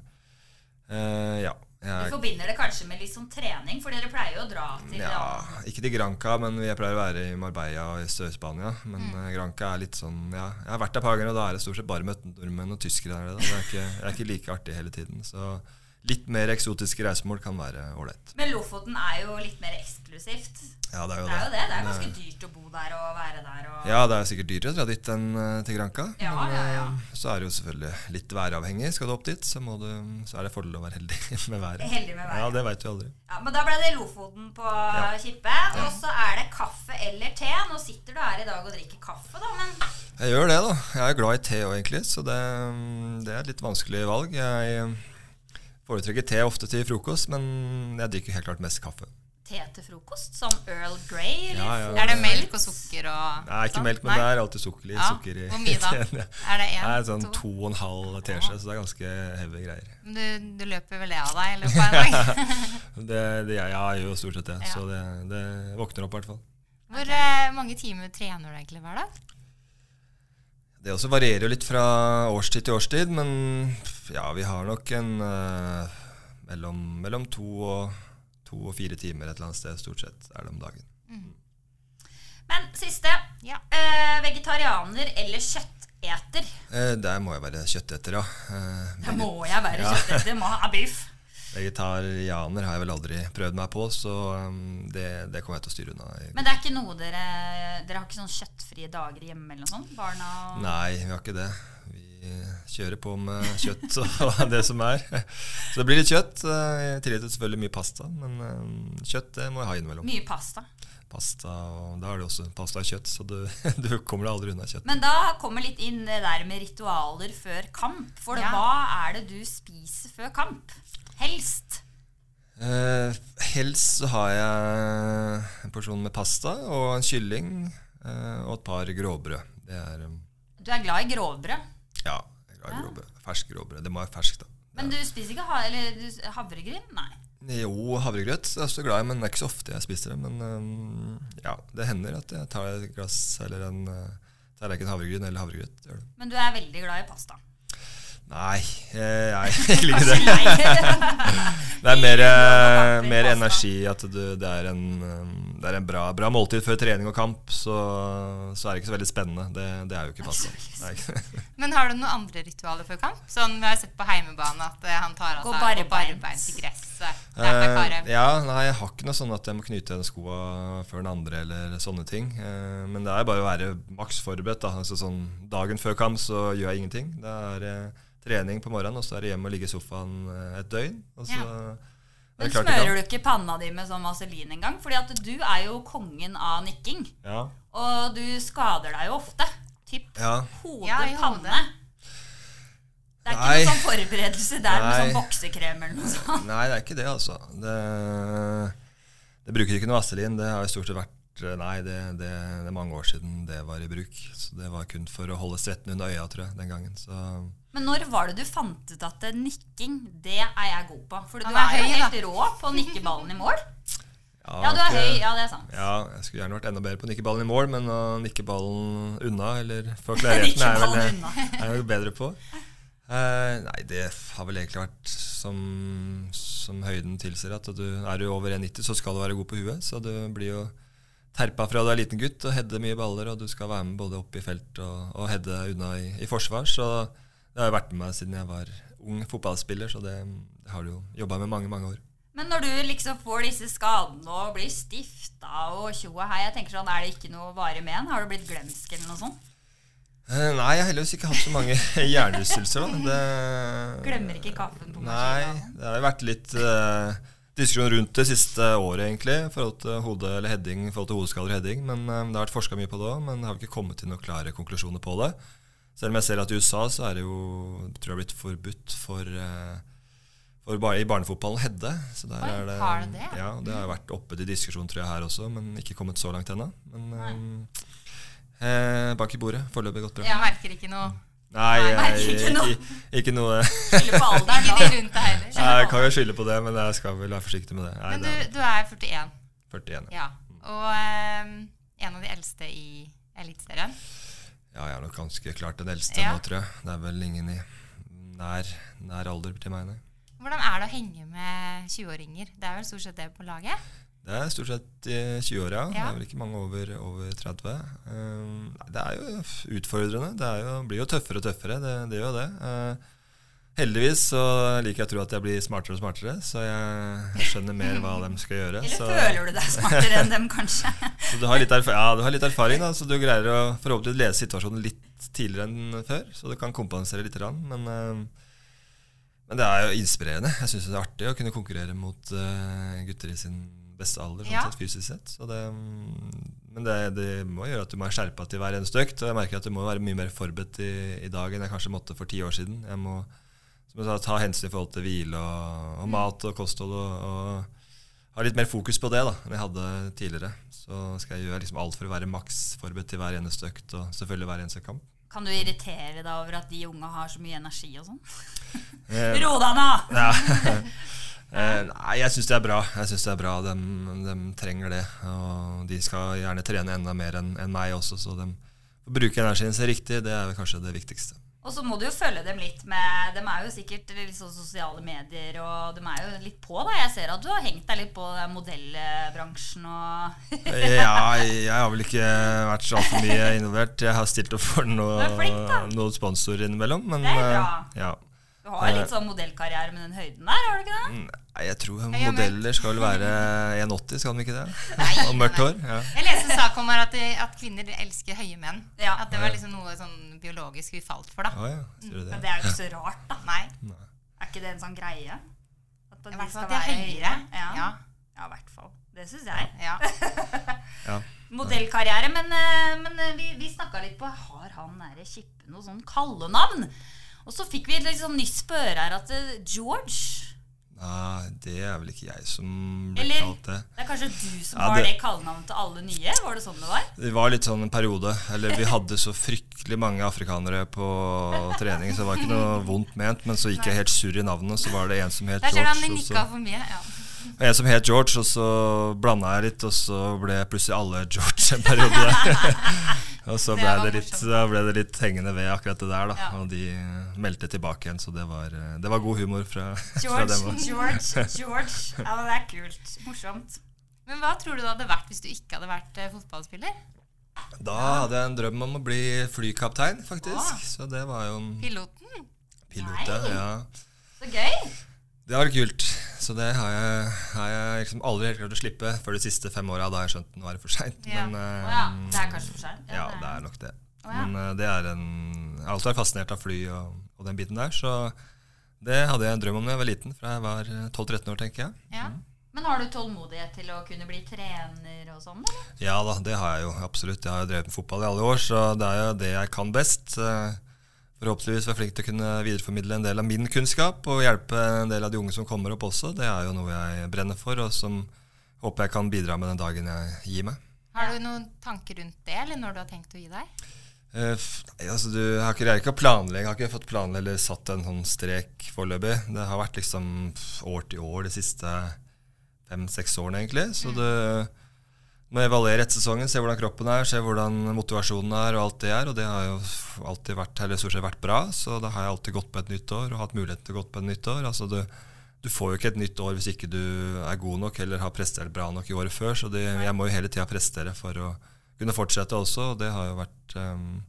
D: eh, ja.
E: Du
D: Jeg,
E: forbinder det kanskje med litt sånn trening, for dere pleier jo å dra til
D: ja. Ikke til Granca, men jeg pleier å være i Marbella og i Sør-Spania. Men
E: Mm.
D: eh, Granca er litt sånn ja, Jeg har vært der et par ganger, og da er det stort sett bare møtt nordmenn og tyskere der. nede, da. Det er ikke, det er ikke like artig hele tiden. Så litt mer eksotiske reisemål kan være ålreit.
E: Men Lofoten er jo litt mer eksklusivt.
D: Ja, det er
E: Det
D: jo
E: er jo det. Det er
D: Men, eh,
E: ganske dyrt å bo der og være der og
D: Ja, det er sikkert dyrere å dra dit enn eh, til Granca.
E: Ja,
D: men
E: ja, ja.
D: eh, så er det jo selvfølgelig litt væravhengig. Skal du opp dit, så, må du, så er det fordel å være heldig med været.
E: Heldig med været.
D: Ja, det veit vi aldri.
E: Ja, men da ble det Lofoten på Kippe. Og så er det kaffe eller te. Nå sitter du her i dag og drikker kaffe, da, men
D: Jeg gjør det, da. Jeg er glad i te òg, egentlig, så det, mm, det er et litt vanskelig valg. Jeg eh, foretrekker te ofte til frokost, men jeg drikker helt klart mest kaffe.
E: te til frokost? Som Earl Grey, eller?
D: Ja, ja.
C: Er det melk og sukker og
D: Nei, ikke
C: sånn?
D: melk, men
C: Nei.
D: det er alltid sukker i,
C: Ja,
D: sukker i
C: hvor mye da?
D: teen, ja.
C: Er det en,
D: Nei, sånn
C: to?
D: to og en halv teskje, så det er ganske heavy greier.
C: Du, du løper vel det av deg i løpet av en dag?
D: Det, det, jeg gjør jo stort sett det,
C: Ja.
D: så det, det våkner opp i hvert fall.
C: Hvor eh, mange timer trener du egentlig hver dag?
D: Det også varierer jo litt fra årstid til årstid, men ja, vi har nok en eh, mellom, mellom to, og, to og fire timer et eller annet sted, stort sett, er det om dagen.
E: Men siste.
C: Ja.
E: Eh, vegetarianer eller kjøtteter?
D: Eh, der må jeg være kjøtteter, ja. Eh,
E: Da må jeg være kjøtteter. Må ha biff.
D: vegetarianer har jeg vel aldri prøvd meg på, så eh, det, det kommer jeg til å styre unna. i-
E: Men det er ikke noe dere Dere har ikke sånn kjøttfrie dager hjemme eller noe sånt? Barna og
D: Nei, vi har ikke det. Vi kjører på med kjøtt og det som er. Så det blir litt kjøtt. eh, I tillegg til selvfølgelig mye pasta, men eh, kjøtt det må jeg ha innimellom.
E: mye pasta.
D: pasta, og da er det også pasta og kjøtt, så du, du kommer deg aldri unna kjøtt.
E: Men da kommer litt inn det der med ritualer før kamp. For
C: Ja.
E: hva er det du spiser før kamp? Helst.
D: Eh, helst så har jeg en porsjon med pasta og en kylling eh, og et par gråbrød. Det er um,
E: Du er glad i grovbrød.
D: Ja, jeg er glad i gråbrød. Fersk gråbrød. Det må være ferskt, da.
E: Men du spiser ikke ha eller du, havregryn? Nei.
D: Jo, havregrøt er jeg også glad i, men det er ikke så ofte jeg spiser det. Men um, ja, det hender at jeg tar et glass eller en eh, tallerken havregryn eller havregrøt. Gjør det.
E: Men du er veldig glad i pasta.
D: Nei, eh, jeg, jeg, jeg liker det. Det er mer,
E: Mye
D: eh,
E: blod og
D: mer
E: pasta.
D: energi at du, det er en, eh, det er en bra, bra måltid før trening og kamp, så, så er det ikke så veldig spennende. Det, det er jo ikke pasta. Nei.
C: Men har du noen andre ritualer før kamp? Sånn, Vi har sett på heimebane at eh, han tar av
E: Gå
C: seg
E: barbeint.
C: barbeint i gresset. Der med
D: Eh,
C: Karim.
D: ja, nei, jeg har ikke noe sånn at jeg må knyte igjen skoa før den andre eller sånne ting. Eh, men det er bare å være maks forberedt. Da. Altså, sånn, dagen før kamp så gjør jeg ingenting. Det er eh, trening på morgenen, og så er det hjem og ligge i sofaen eh, et døgn. Og så,
C: Ja.
D: er
E: Men
D: det klart til
E: smører
D: kamp.
E: du ikke panna di med sånn vaselin engang? Fordi at du er jo kongen av nikking.
D: Ja.
E: Og du skader deg jo ofte. Typ
D: ja.
E: hode,
C: Ja, i hodet.
E: panne. Det er ikke
D: Nei.
E: noe sånn forberedelse der med
D: Nei.
E: sånn boksekrem eller noe sånt.
D: Nei, det er ikke det, altså. Det, det bruker ikke noe vaselin. Det har jo stort sett vært eh, Nei, det, det, det er mange år siden det var i bruk. Så Det var kun for å holde svetten under øya, tror jeg, den gangen. Så
E: Men når var det du fant ut at eh, nikking, det er jeg god på? For du
C: Han
E: er,
C: er
E: jo
C: høy,
E: helt rå på å nikke ballen i mål.
D: ja,
E: Ja, du er
D: ikke-
E: høy. Ja, det er sant.
D: Ja, jeg skulle gjerne vært enda bedre på å nikke ballen i mål, men å nikke ballen unna, eller før klarheten, er vel
E: ballen unna.
D: er jeg jo bedre på. Eh, nei, det har vel egentlig vært som som høyden tilsier. At du, er du over 1,90, så skal du være god på huet. Så du blir jo terpa fra du er liten gutt og header mye baller, og du skal være med både opp i felt og, og heade unna i, i forsvar. Så det har jo vært med meg siden jeg var ung fotballspiller, så det, det har du jo jobba med mange, mange år.
E: Men når du liksom får disse skadene og blir stifta og tjo og hei, jeg tenker sånn, er det ikke noe varig med en? Har du blitt glemsk eller noe sånt?
D: Eh, Nei, jeg har heldigvis ikke hatt så mange hjernerystelser. da. Det-
E: Glemmer ikke kaffen på
D: Nei,
E: maskinen?
D: det har jo vært litt eh, diskusjon rundt det siste året, egentlig. I forhold til hode eller heading, i forhold til hodeskader og heading. Men eh, det har vært forska mye på det òg, men det har ikke kommet til noen klare konklusjoner på det. Selv om jeg ser at i USA så er det jo tror jeg har blitt forbudt for, eh, for bar i barnefotballen å heade. Så der
E: Oi,
D: er det,
E: har det det, ja?
D: Ja, og det har vært oppe til diskusjon tror jeg her også, men ikke kommet så langt ennå. Men eh, eh, bak i bordet. Foreløpig gått bra.
C: Jeg merker ikke noe.
D: Nei,
E: Nei,
D: jeg,
E: ikke noe.
D: ikke, ikke noe
E: Skylder på alderen
C: Ikke de
E: da.
C: rundt deg heller.
D: Nei, Jeg kan jo skylde på det, men jeg skal vel være forsiktig med det. Nei,
C: Men
D: det er
C: du, du er 41,
D: 41. Ja.
C: ja. Og eh, en av de eldste i Eliteserien.
D: ja, jeg er nok ganske klart den eldste
C: Ja.
D: nå, tror jeg. Det er vel ingen i nær, nær alder til meg, nei.
C: Hvordan er det å henge med 20-åringer? Det er vel stort sett det på laget?
D: Det er stort sett eh, 20-åra. Det
C: Ja.
D: er vel ikke mange over, over 30. Um, nei, det er jo utfordrende. Det er jo, blir jo tøffere og tøffere. Det, det gjør jo det. Eh, heldigvis så liker jeg å tro at jeg blir smartere og smartere, så jeg, jeg skjønner mer hva de skal gjøre.
E: Eller
D: så-
E: føler du deg smartere enn dem, kanskje?
D: Så du har litt, erf ja, du har litt erfaring, da, så du greier å forhåpentlig lese situasjonen litt tidligere enn før. Så du kan kompensere litt. grann, Men, eh, men det er jo inspirerende. Jeg syns det er artig å kunne konkurrere mot eh, gutter i sin beste alder, sånn
C: Ja.
D: sett, fysisk sett. Så det, mm, men det, det må gjøre at du må være skjerpa til hver eneste økt. Og jeg merker at du må være mye mer forberedt i, i dag enn jeg kanskje måtte for ti år siden. Jeg må som jeg sa, ta hensyn i forhold til hvile og, og mat og kosthold og, og ha litt mer fokus på det da, enn jeg hadde tidligere. Så skal jeg gjøre liksom alt for å være maks forberedt til hver eneste økt og selvfølgelig hver eneste kamp.
E: Kan du irritere deg over at de unge har så mye energi og sånn?
D: Eh,
E: Ro deg nå!
D: Ja. Eh, Nei, jeg syns det er bra. Jeg synes det er bra. De, trenger det. Og de skal gjerne trene enda mer enn enn meg også, så de får bruke energien sin riktig. Det er vel kanskje det viktigste.
E: Og så må du jo følge dem litt med De er jo sikkert litt sånn sosiale medier, og de er jo litt på, da. Jeg ser at du har hengt deg litt på den modellbransjen og
D: Ja, jeg har vel ikke vært så altfor mye involvert. Jeg har stilt opp for noe,
E: Du er flink, da.
D: noen sponsorer innimellom, men
E: Det er
D: eh,
E: bra.
D: ja.
E: Du har litt sånn modellkarriere med den høyden der, har du ikke det?
D: Nei, jeg tror
C: gjør meg.
D: modeller skal vel være 1,80, skal de ikke det? Og mørkt hår. Ja.
C: Jeg leste en sak om her at, det- at kvinner elsker høye menn.
E: Ja.
C: At det var liksom noe sånn biologisk vi falt for, da.
D: Å ja, sier du det?
E: Men det er jo ikke så rart, da.
C: Nei.
E: Er ikke det en sånn greie? At
C: I hvert fall at de er høyere.
E: Ja,
C: Ja.
E: ja i hvert fall. Det syns jeg.
C: ja.
E: Modellkarriere, men, eh, men eh, vi, vi snakka litt på Har han nære Kippe noe sånn kallenavn? Og så fikk vi liksom nyss på øret her at eh, George
D: Nei, det er vel ikke jeg som ble
E: Eller
D: kalt det.
E: Det er kanskje du som
D: Ja,
E: har det
D: det-
E: kallenavnet til alle nye? Var det sånn det var?
D: Det var litt sånn en periode. Eller vi hadde så fryktelig mange afrikanere på trening, så det var ikke noe vondt ment. Men så gikk jeg helt surr i navnet, så var det en som het
C: Der ser du
D: George.
E: sånn
C: om de
D: og
C: nikka
D: så-
C: for mye. Ja.
D: og en som het George, og så blanda jeg litt, og så ble plutselig alle George en periode der. og så
C: Det var
D: ble det, litt,
C: morsomt.
D: da ble det litt hengende ved akkurat det der, da.
C: Ja.
D: Og de eh, meldte tilbake igjen, så det var, eh, det var god humor fra, fra
E: George,
D: dem òg.
E: George, George. Ja, det er kult. Morsomt.
C: Men hva tror du det hadde vært hvis du ikke hadde vært eh, fotballspiller?
D: Da hadde jeg en drøm om å bli flykaptein, faktisk. Så det var jo en
C: Piloten?
D: pilot, ja. ja.
E: Så gøy.
D: Det var kult. Så det har jeg, har jeg liksom aldri helt klart å slippe før de siste fem åra. Da har jeg skjønt nå er det for seint.
C: Ja.
D: Men
E: Å
D: eh,
E: ja, det er kanskje for seg.
D: ja, det er nok det. Men eh, det er en Jeg har alltid vært fascinert av fly og, og den biten der, så det hadde jeg en drøm om da jeg var liten, fra jeg var eh, 12-13 år, tenker jeg.
C: Ja.
E: Men har du tålmodighet til å kunne bli trener og sånn? eller?
D: Ja da, det har jeg jo. Absolutt. Jeg har jo drevet med fotball i alle år, så det er jo det jeg kan best. Eh, Forhåpentligvis være flink til å kunne videreformidle en del av min kunnskap og hjelpe en del av de unge som kommer opp også. Det er jo noe jeg brenner for, og som håper jeg kan bidra med den dagen jeg gir meg.
C: Har du noen tanker rundt det, eller når du har tenkt å gi deg?
D: Eh, f- Nei, altså du jeg har ikke, jeg, har ikke planlegg, jeg har ikke fått planlegge eller satt en sånn strek foreløpig. Det har vært liksom f- år til år de siste fem-seks årene, egentlig. Så du må evaluere etter sesongen, se hvordan kroppen er, se hvordan motivasjonen er og alt det er. Og det har jo f- alltid vært, eller stort sett vært bra, så da har jeg alltid gått på et nytt år og hatt mulighet til å gå på et nytt år. Altså du, du får jo ikke et nytt år hvis ikke du er god nok eller har prestert bra nok i året før. Så det, jeg må jo hele tida prestere for å kunne fortsette også, og det har jo vært ehm,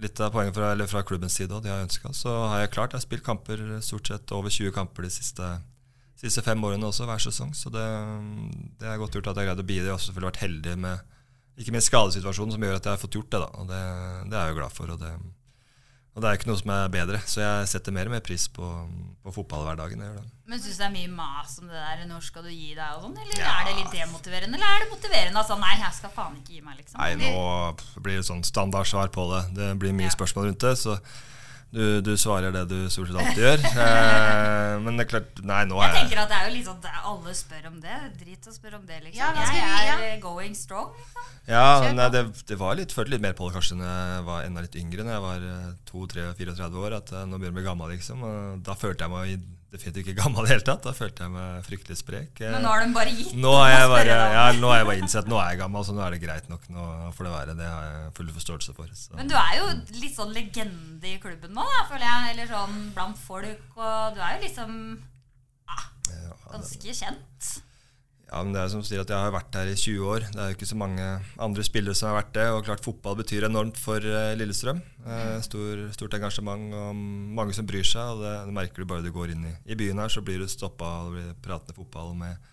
D: litt av poenget fra, eller fra klubbens side, og de har ønska. Så har jeg klart, jeg har spilt kamper stort sett over 20 kamper de siste, siste fem årene også, hver sesong. Så det, det er godt gjort at jeg greide å bidra. Jeg har også selvfølgelig vært heldig med ikke minst skadesituasjonen, som gjør at jeg har fått gjort det. da, og Det, det er jeg jo glad for. og det... Og det er jo ikke noe som er bedre, så jeg setter mer og mer pris på, på fotballhverdagen. Jeg gjør det.
E: Men syns du det er mye mas om det der? Når skal du gi deg? og sånn? Eller er det litt
D: altså.
E: demotiverende? Eller er det motiverende? Altså, nei, jeg skal faen ikke gi meg, liksom.
D: Nei, nå blir det sånn standardsvar på det. Det blir mye spørsmål rundt det, så du, du svarer det du stort sett alltid gjør. Eh, men det er klart Nei, nå er
E: Jeg
D: jeg
E: tenker at det er jo litt sånn at alle spør om det. Drit å spørre om det, liksom.
C: Ja, hva skal
E: jeg
C: vi-
E: er
C: ja.
E: eh, going strong. Liksom.
D: Ja, nei, det, det var litt, følte litt mer på det kanskje når jeg var enda litt yngre, når jeg var eh, 2-3-34 år, at eh, nå begynner jeg å bli gammel, liksom. Og da følte jeg meg i- definitivt ikke gammel i det hele tatt. Da følte jeg meg fryktelig sprek. Eh,
E: Men nå har de bare gitt
D: Nå har jeg
E: Nå spør
D: bare,
E: jeg deg om
D: ja,
E: det.
D: nå har jeg bare innsett nå er jeg gammel, så nå er det greit nok. Nå får det være. Det har jeg full forståelse for. Så.
E: Men du er jo litt sånn legende i klubben nå, da, føler jeg. Eller sånn blant folk. Og du er jo liksom ah, ganske kjent.
D: Ja, men det er som du sier at Jeg har vært her i 20 år. Det er jo ikke så mange andre spillere som har vært det. Og klart fotball betyr enormt for eh, Lillestrøm. Eh, stor, stort engasjement og mange som bryr seg. og Det, det merker du bare du går inn i, i byen her, så blir du stoppa og det blir pratende fotball med,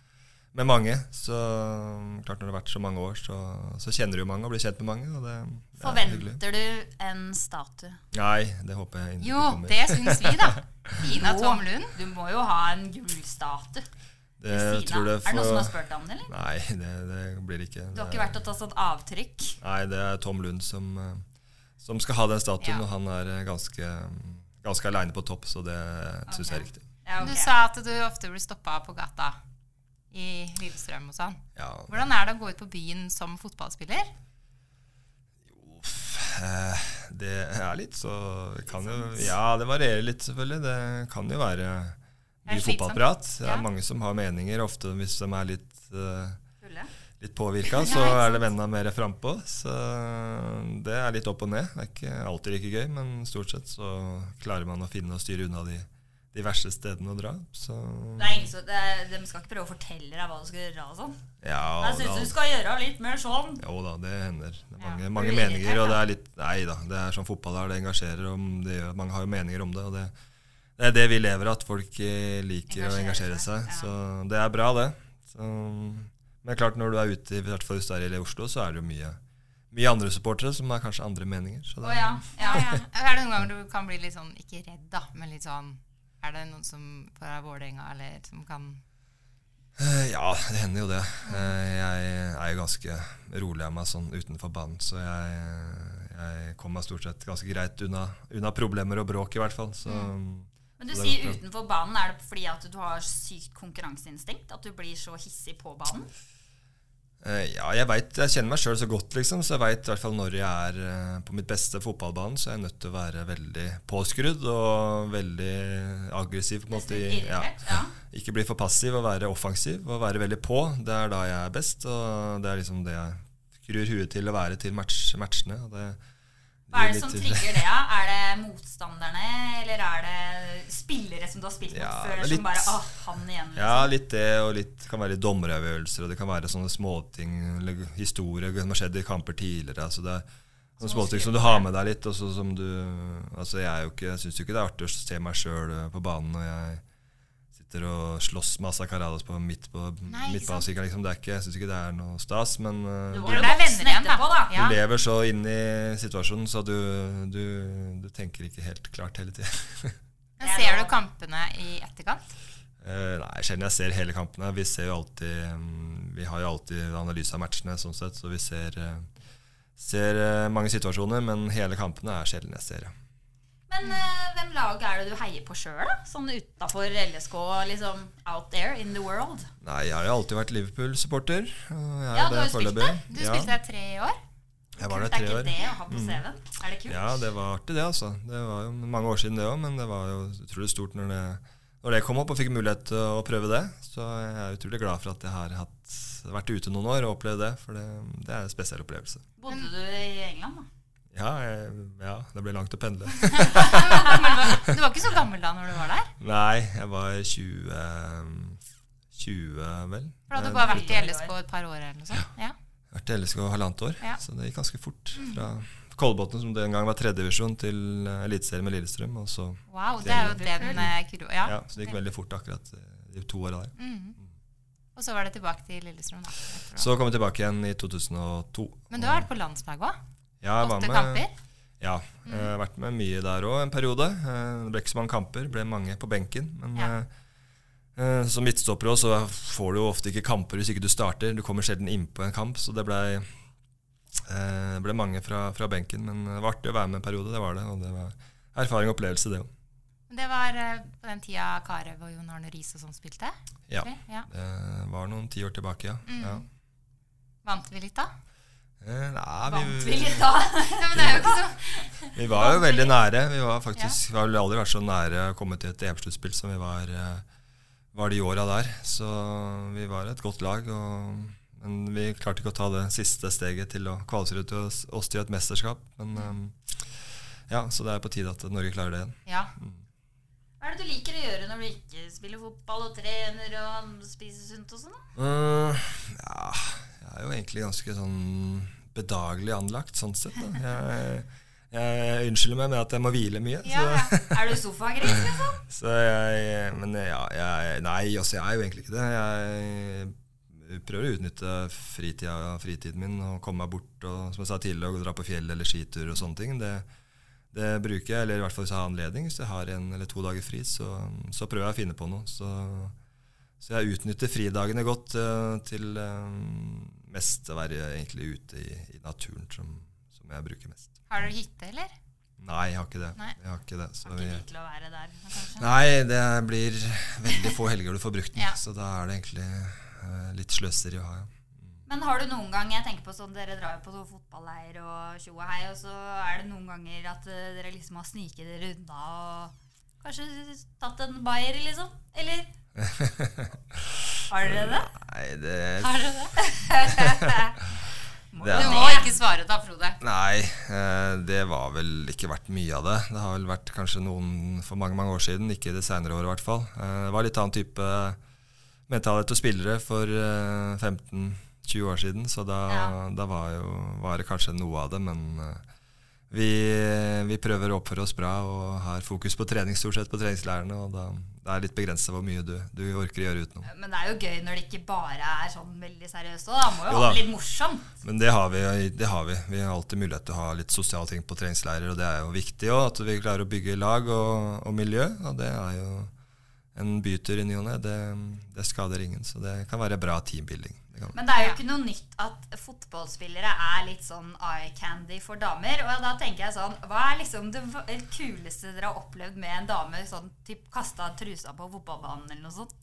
D: med mange. Så mm, klart når det har vært så mange år, så, så kjenner du jo mange og blir kjent med mange. Og det, det er hyggelig.
E: Forventer du en statue?
D: Nei, det håper jeg ikke
C: Jo,
D: kommer.
C: det syns vi, da. Ina
E: Jo,
C: Tom Lund.
E: Du må jo ha en gullstatue.
D: Det
E: Stina,
D: tror jeg
E: Er det noen som
D: får-
E: har spurt deg om det, eller?
D: Nei, det, det blir det ikke.
E: Du har ikke vært og tatt sånt avtrykk?
D: Nei, det er Tom Lund som, eh, som skal ha den statuen, og han er eh, ganske, ganske aleine på topp, så det syns jeg er riktig.
E: Ja,
C: Du
E: ok.
C: sa at du ofte blir stoppa på gata i Lillestrøm og sånn.
D: Ja,
C: Hvordan er det å gå ut på byen som fotballspiller?
D: eh, det er litt så det kan jo, Ja, det varierer litt, selvfølgelig. Det kan jo
C: Det
D: være
C: er
D: mye
C: slitsomt.
D: fotballprat. Det
C: Ja.
D: er mange som har meninger, ofte hvis de er litt eh,
E: Fulle.
D: litt påvirka, så er det vennene mer frampå. Så eh, det er litt opp og ned. Det er ikke alltid like gøy, men stort sett så klarer man å finne og styre unna de, de verste stedene å dra. Så
E: Det er ingen som, det er, de skal ikke prøve å fortelle deg hva du skal gjøre og sånn.
D: ja,
E: Jeg syns
D: da-
E: du skal gjøre litt mer sånn.
D: Jo da, det hender. Det er mange,
E: Ja,
D: mange
E: blir irritert,
D: meninger, og det
E: da.
D: er litt Nei da, det er sånn fotball er, det engasjerer, og det gjør, mange har jo meninger om det. og det det er det vi lever av, at folk eh, liker å
E: Engasjere
D: engasjere
E: seg,
D: seg.
E: ja.
D: Så det er bra, det. Så, men klart, når du er ute, i hvert fall hvis du er i Oslo, så er det jo mye, mye andre supportere som har kanskje andre meninger. Så det,
E: Å ja. ja.
C: Er det noen ganger du kan bli litt sånn, ikke redd da, men litt sånn Er det noen som fra Vålerenga eller som kan
D: Eh, Ja, det hender jo det. Eh, Jeg er jo ganske rolig av meg sånn utenfor banen, så jeg, jeg kommer meg stort sett ganske greit unna, unna problemer og bråk, i hvert fall. Så
E: Men du sier utenfor banen. Er det fordi at du har sykt konkurranseinstinkt? At du blir så hissig på banen?
D: eh, ja, jeg, vet, jeg kjenner meg sjøl så godt, liksom, så jeg veit i hvert fall når jeg er eh, på mitt beste fotballbane, så er jeg nødt til å være veldig påskrudd og veldig aggressiv, på en måte. i-
E: Irritert? Ja.
D: Ikke bli for passiv og være offensiv og være veldig på. Det er da jeg er best, og det er liksom det jeg skrur huet til å være til match, matchene. Og det,
E: Hva er det sånn som
D: litt-
E: trigger det? da? Er det motstanderne, eller er det spillere som du har spilt mot
D: Ja,
E: før,
D: det er litt-
E: som bare Å, han igjen. liksom.
D: Ja, litt det, og litt kan være litt dommeravgjørelser, og det kan være sånne småting, eller historier som har skjedd i kamper tidligere. Altså det er sånne småting som du har med deg litt, og så som du Altså, jeg er jo ikke Jeg syns jo ikke det er artig å se meg sjøl på banen når jeg sitter og slåss med Asa Karadas på midt på
C: Nei, ikke sant.
D: midtbanesirkelen, liksom. Det er ikke Jeg syns ikke det er noe stas, men eh,
E: Du
D: du-
E: var jo
C: Det er
E: voksen
C: venner igjen, da.
E: etterpå, da.
C: Ja.
D: Du lever så inn i situasjonen, så du, du, du tenker ikke helt klart hele tida.
C: Men Ser du kampene i etterkant?
D: Eh, nei, sjelden jeg ser hele kampene. Vi ser jo alltid mm, Vi har jo alltid analyse av matchene, sånn sett, så vi ser, eh, ser eh, mange situasjoner, men hele kampene er sjelden jeg ser. ja.
E: Men eh, hvem lag er det du heier på sjøl, da? Sånn utafor LSK, liksom out there in the world.
D: Nei, jeg har jo alltid vært Liverpool-supporter. og jeg er
E: Ja,
D: jo
E: du
D: det
E: har jo spilt
D: foreløpig.
E: det.
C: Du
D: ja,
C: spilte der tre år.
D: Jeg var
E: Kult,
D: der
E: er
D: tre
E: ikke
D: år.
E: det å ha på CV-en? Er det kult?
D: Mm. Ja, det var artig, det, altså. Det var jo mange år siden, det òg, men det var jo utrolig stort når det, når det kom opp og fikk mulighet til å prøve det. Så jeg er utrolig glad for at jeg har hatt, vært ute noen år og opplevd det, for det, det er en spesiell opplevelse.
E: Bodde du i England, da?
D: Ja, jeg, ja, det ble langt å pendle.
E: Men du var- du var ikke så gammel da når du var der?
D: Nei, jeg var 20 eh, 20, vel.
C: For da hadde du
D: Eh,
C: bare vært i LSK et par år eller noe sånt? Ja.
D: vært i LSK halvannet år,
C: Ja. Mm.
D: så det gikk ganske fort. Fra Kolbotn, som den gang var tredjedivisjon, til eh, Eliteserien med Lillestrøm. Og så,
C: Wow, det er jo den eh, kurva. Ja. Mm.
D: ja, så det gikk veldig fort akkurat eh, de to åra der.
C: Og så var det tilbake til Lillestrøm. Da. etterpå.
D: Så kom jeg tilbake igjen i 2002.
C: Men du har vært på landslaget òg?
D: Ja, jeg var
C: Åtte
D: med-
C: kamper? Mm.
D: Ja. Jeg har vært med mye der òg en periode. Eh, Det ble ikke så mange kamper, ble mange på benken. Men
C: Ja.
D: eh, eh, som midtstopper også, så får du jo ofte ikke kamper hvis ikke du starter. Du kommer sjelden innpå en kamp, så det blei eh, ble mange fra, fra benken. Men eh, det var artig å være med en periode, det var det. Og det var erfaring og opplevelse, det òg.
C: Det var eh, på den tida Carew og Jon Arne Riise og sånn spilte?
D: Ja.
C: Tror jeg, ja.
D: Det var noen tiår tilbake, ja.
C: Mm.
D: ja.
C: Vant vi litt da?
D: Eh, Nei,
E: Vant vi
D: vi,
E: litt da?
C: Ja, men det er jo ikke
D: Mm.
C: så
D: vi var jo veldig nære. Vi var faktisk Vi har vel aldri vært så nære å komme til et EM-sluttspill som vi var, eh, var de åra der. Så vi var et godt lag. Og, men vi klarte ikke å ta det siste steget til å kvalifisere til oss, oss til et mesterskap. Men eh, ja, så det er på tide at Norge klarer det igjen.
C: Ja.
D: Mm.
E: Hva er det du liker å gjøre når du ikke spiller fotball og trener og spiser sunt og sånn? da?
D: Eh, ja, jeg er jo egentlig ganske sånn bedagelig anlagt, sånn sett. Da. Jeg, jeg unnskylder meg med at jeg må hvile mye.
C: Ja,
D: så-
C: ja.
E: Er du sofagris, liksom?
D: Så jeg, men ja, jeg, nei, altså jeg er jo egentlig ikke det. Jeg prøver å utnytte fritida, fritiden min og komme meg bort og som jeg sa tidligere, å dra på fjell eller skitur og sånne ting. Det, det bruker jeg, eller i hvert fall hvis jeg har anledning. Hvis jeg har en eller to dager fri, så, så prøver jeg å finne på noe. Så, så jeg utnytter fridagene godt eh, til eh, mest å være egentlig ute i, i naturen, som, som jeg bruker mest.
C: Har dere hytte, eller?
D: Nei, jeg har ikke det.
C: Nei.
D: Jeg har ikke det. Så
E: Ikke
D: vi,
E: tid til å være der, kanskje.
D: Nei, det blir veldig få helger du får brukt den.
C: Ja.
D: Så da er det egentlig eh, litt sløseri å ha. Ja.
E: Men har du noen gang, jeg tenker på sånn, dere drar jo på sånn fotballleir og tjo og hei, og så er det noen ganger at eh, dere liksom har sniket dere unna og kanskje tatt en bayer, liksom? Eller? Har dere det?
D: Nei, det,
C: Har dere det?
D: det
C: Du
D: er,
C: må ikke svare da, Frode.
D: Nei, eh, det var vel ikke vært mye av det. Det har vel vært kanskje noen for mange mange år siden, ikke det seinere året i hvert fall. Eh, Det var litt annen type mentalitet hos spillere for eh, 15-20 år siden, så da,
E: Ja.
D: da var, jo, var det kanskje noe av det, men eh, vi, vi prøver å oppføre oss bra og har fokus på trening stort sett på treningslærerne, og da, det er litt begrenset hvor mye du, du orker å gjøre utenom.
E: Men det er jo gøy når det ikke bare er sånn veldig seriøst òg, da. Må
D: Jo
E: jo ha
D: da.
E: det litt morsomt.
D: Men det har, vi, det har vi. Vi har alltid mulighet til å ha litt sosiale ting på treningsleirer, og det er jo viktig òg, at vi klarer å bygge lag og, og miljø. Og det er jo en bytur i ny og ne. Det, det skader ingen, så det kan være bra teambuilding. Det kan.
E: Men det er jo ikke noe nytt at fotballspillere er litt sånn eye candy for damer. Og da tenker jeg sånn Hva er liksom det v- kuleste dere har opplevd med en dame sånn typ kasta trusa på fotballbanen eller noe sånt?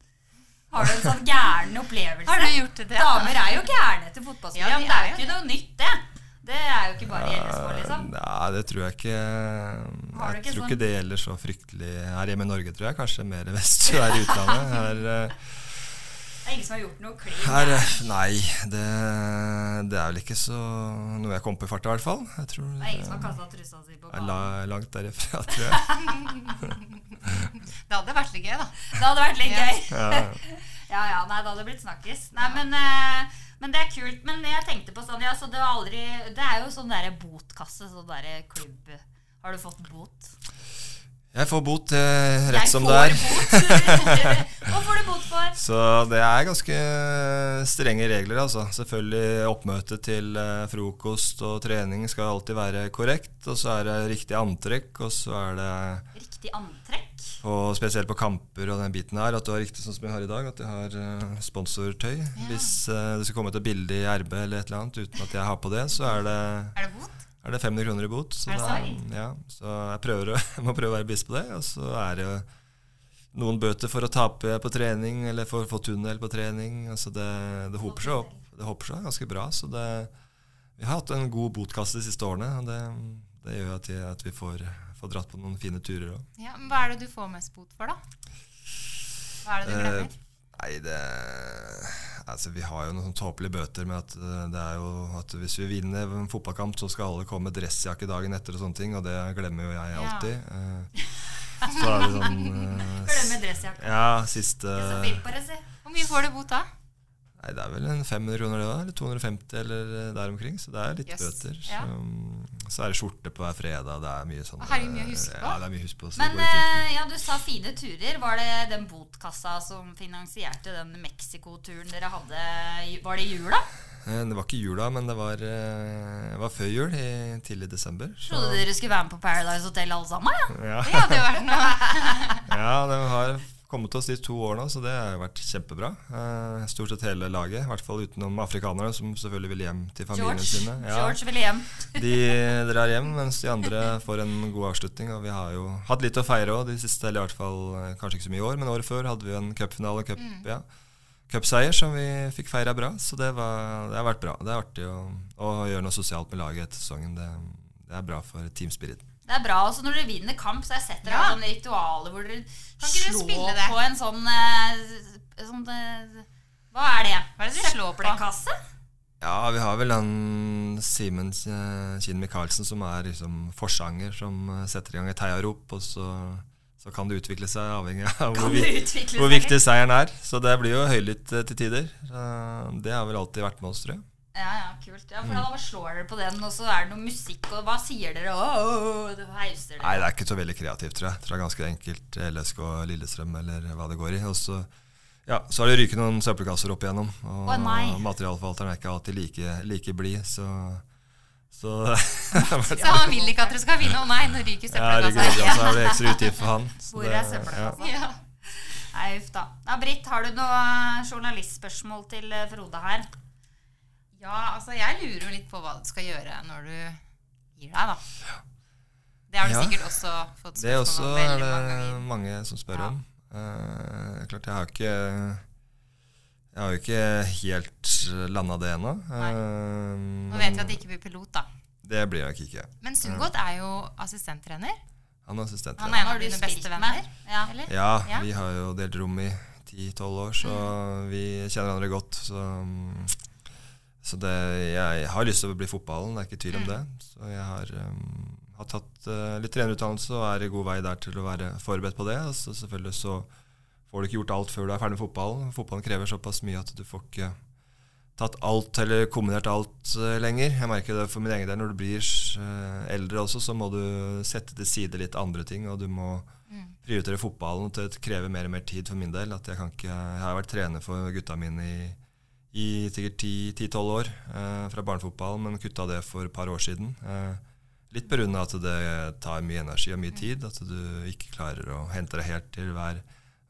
E: Har du en sånn gæren opplevelse?
C: Har du gjort det?
E: Damer er jo gærne til fotballspillere.
C: Ja, de
E: men det er
C: er
E: jo
C: jo
E: ikke noe nytt, det. Det er jo ikke bare i LSK, liksom.
D: Nei, det tror jeg ikke
E: Har du
D: Jeg
E: ikke
D: tror
E: sånn-
D: ikke det gjelder så fryktelig her hjemme i Norge, tror jeg. Kanskje mer hvis du er i utlandet. Her, eh,
E: Det er ingen som har gjort noe klin.
D: Her, nei, det, det er vel ikke så noe jeg kom på i farta, i hvert fall. Jeg tror
E: Det er ingen som har kasta trusa si på
D: det er
E: banen.
D: la- langt derifra, tror jeg.
C: Det hadde vært litt gøy, da.
E: Det hadde vært litt
C: Ja.
E: gøy. Ja, ja, nei, det hadde blitt snakkes. Nei, men, eh, men det er kult. Men jeg tenkte på sånn, ja, så det var aldri Det er jo sånn derre botkasse, sånn derre klubb Har du fått bot?
D: Jeg får bot eh, rett
E: jeg
D: som det
E: får
D: er.
E: bot! Hva får du bot for?
D: Så det er ganske eh, strenge regler, altså. Selvfølgelig oppmøte til eh, frokost og trening skal alltid være korrekt. Og så er det riktig antrekk, og så er det
E: Riktig antrekk.
D: på, spesielt på kamper og den biten her, at du har riktig sånn som jeg har i dag, at jeg har eh, sponsortøy. Hvis eh, det skal komme et bilde i RB eller et eller annet uten at jeg har på det, så er det
C: Er det bot?
D: er det 500 kroner i bot. Så,
E: Er det
D: da-
E: sant?
D: ja, så jeg, prøver, å- jeg må prøve å være bevisst på det. Og så er det jo noen bøter for å tape på trening, eller for å få tunnel på trening. Altså det, det hoper seg opp. Det hoper seg ganske bra. Så det, vi har hatt en god botkasse de siste årene. Og det, det gjør at, vi- at vi får, får dratt på noen fine turer òg.
C: Ja, men Hva er det du får mest bot for, da? Hva er det du
D: Eh,
C: glemmer?
D: Nei, det Altså, vi har jo noen sånn tåpelige bøter med at eh, det er jo at hvis vi vinner en fotballkamp, så skal alle komme med dressjakke dagen etter og sånne ting, og det glemmer jo jeg alltid. Eh, Så er det sånn eh,
E: Glemmer dressjakka.
D: Ja, siste
E: Så fint, bare se.
C: Hvor mye får du bot da?
D: Nei, det er vel en 500 kroner det da, eller 250 eller eh, der omkring, så det er litt
C: Yes.
D: bøter.
C: Ja.
D: Så, så er det skjorte på hver fredag, det er mye sånn.
C: Herregud, mye å huske på.
D: Ja, det er mye å huske på. så det
E: Men
D: går ikke ut.
E: eh, ja, du sa fine turer. Var det den botkassa som finansierte den Mexico-turen dere hadde? i- Var det i jula?
D: Eh, Det var ikke jula, men det var, eh, det var før jul, i tidlig desember. så-
E: Trodde dere skulle være med på Paradise Hotel alle sammen?
D: Ja,
E: Ja.
C: Det hadde jo vært noe.
D: ja det har kommet oss de to år nå, så det har jo vært kjempebra. Eh, Stort sett hele laget, i hvert fall utenom afrikanere, som selvfølgelig vil hjem til familien
E: George,
D: sine. Ja.
E: George ville hjem.
D: De drar hjem, mens de andre får en god avslutning. Og vi har jo hatt litt å feire òg, de siste, eller i hvert fall eh, kanskje ikke så mye i år, men året før hadde vi en cupfinale, cup,
E: Mm.
D: ja, cupseier, som vi fikk feira bra. Så det, var, det har vært bra. Det er artig å, å gjøre noe sosialt med laget etter sesongen. Det, det er bra for teamspiriten.
E: Det er bra. også når dere vinner kamp, så har jeg sett dere har sånne ritualer hvor dere
C: ikke du
E: slår
C: spille det?
E: på en sånn, eh, sånn eh, Hva er det?
C: Hva er det du slår på?
E: Søppelkasse?
D: Ja, vi har vel han Simen eh, Kinn Michaelsen som er liksom forsanger, som eh, setter i gang et heiarop, og så, så kan det utvikle seg avhengig av hvor,
E: det
D: vi-
E: utvikle
D: hvor
E: seg
D: viktig seieren er. Så det blir jo høylytt eh, til tider. Eh, Det har vel alltid vært med oss, tror jeg.
E: Ja, ja, kult. Ja, for da bare slår dere på den, og så er det noe musikk, og hva sier dere? Åh, du heiser dere.
D: Nei, det er ikke så veldig kreativt, tror jeg. Jeg tror det er ganske enkelt eh, LSK Lillestrøm eller hva det går i. Og så, ja, så har det ryket noen søppelkasser opp igjennom. Og
E: Å, nei.
D: materialforvalteren er ikke alltid like, like blid, så, så det har vært-
C: Så han vil ikke at dere skal vinne. Å nei, nå ryker
D: Ja, herregud,
C: søppelkassa.
D: ja, så er det ekstra utgift for han. så
E: altså. Hvor
D: det-
E: er søppelkassa?
C: Ja.
E: Nei, uff da. Ja, Britt, har du noe journalistspørsmål til eh, Frode her?
C: ja, altså jeg lurer jo litt på hva du skal gjøre når du gir deg, da. Det har du
D: Ja.
C: sikkert også fått
D: Det er også eh,
C: spørsmål om
D: er
C: veldig mange
D: det
C: ganger.
D: mange som spør om. Eh, klart, jeg har jo ikke Jeg har jo ikke helt landa det ennå. Eh,
C: Nå vet vi at det ikke blir pilot, da.
D: det blir jeg nok ikke.
C: Men Sundgodt er jo assistenttrener.
D: Han er assistent.
C: Han
D: ja.
C: er en av dine beste venner.
E: Ja.
C: Eller?
D: Ja,
C: Ja.
D: vi har jo delt rom i 10-12 år, så vi kjenner hverandre godt. Så, mm, så det, jeg har lyst til å bli fotballen, det er ikke tvil om det. Så jeg har, um, har tatt eh, litt trenerutdannelse og er i god vei der til å være forberedt på det. Og så selvfølgelig så får du ikke gjort alt før du er ferdig med fotballen. Fotballen krever såpass mye at du får ikke tatt alt eller kombinert alt eh, lenger. Jeg merker det for min egen del. Når du blir eh, eldre også, så må du sette til side litt andre ting, og du må prioritere fotballen til det krever mer og mer tid for min del. At jeg, kan ikke, jeg har vært trener for gutta mine i, i sikkert 10 10-12 år eh, fra barnefotball, men kutta det for et par år siden. Eh, litt pga. at det tar mye energi og mye tid, at du ikke klarer å hente deg helt til hver,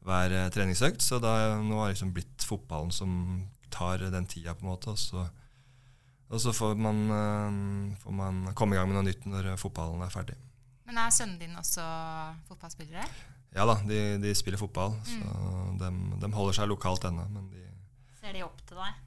D: hver eh, treningsøkt. Så da, nå har det liksom blitt fotballen som tar den tida, på en måte. og så og så får man, eh, får man komme i gang med noe nytt når fotballen er ferdig.
C: Men er sønnen din også fotballspillere?
D: Ja da, de, de spiller fotball, så de, holder seg lokalt ennå. Men de
E: Ser de opp til deg?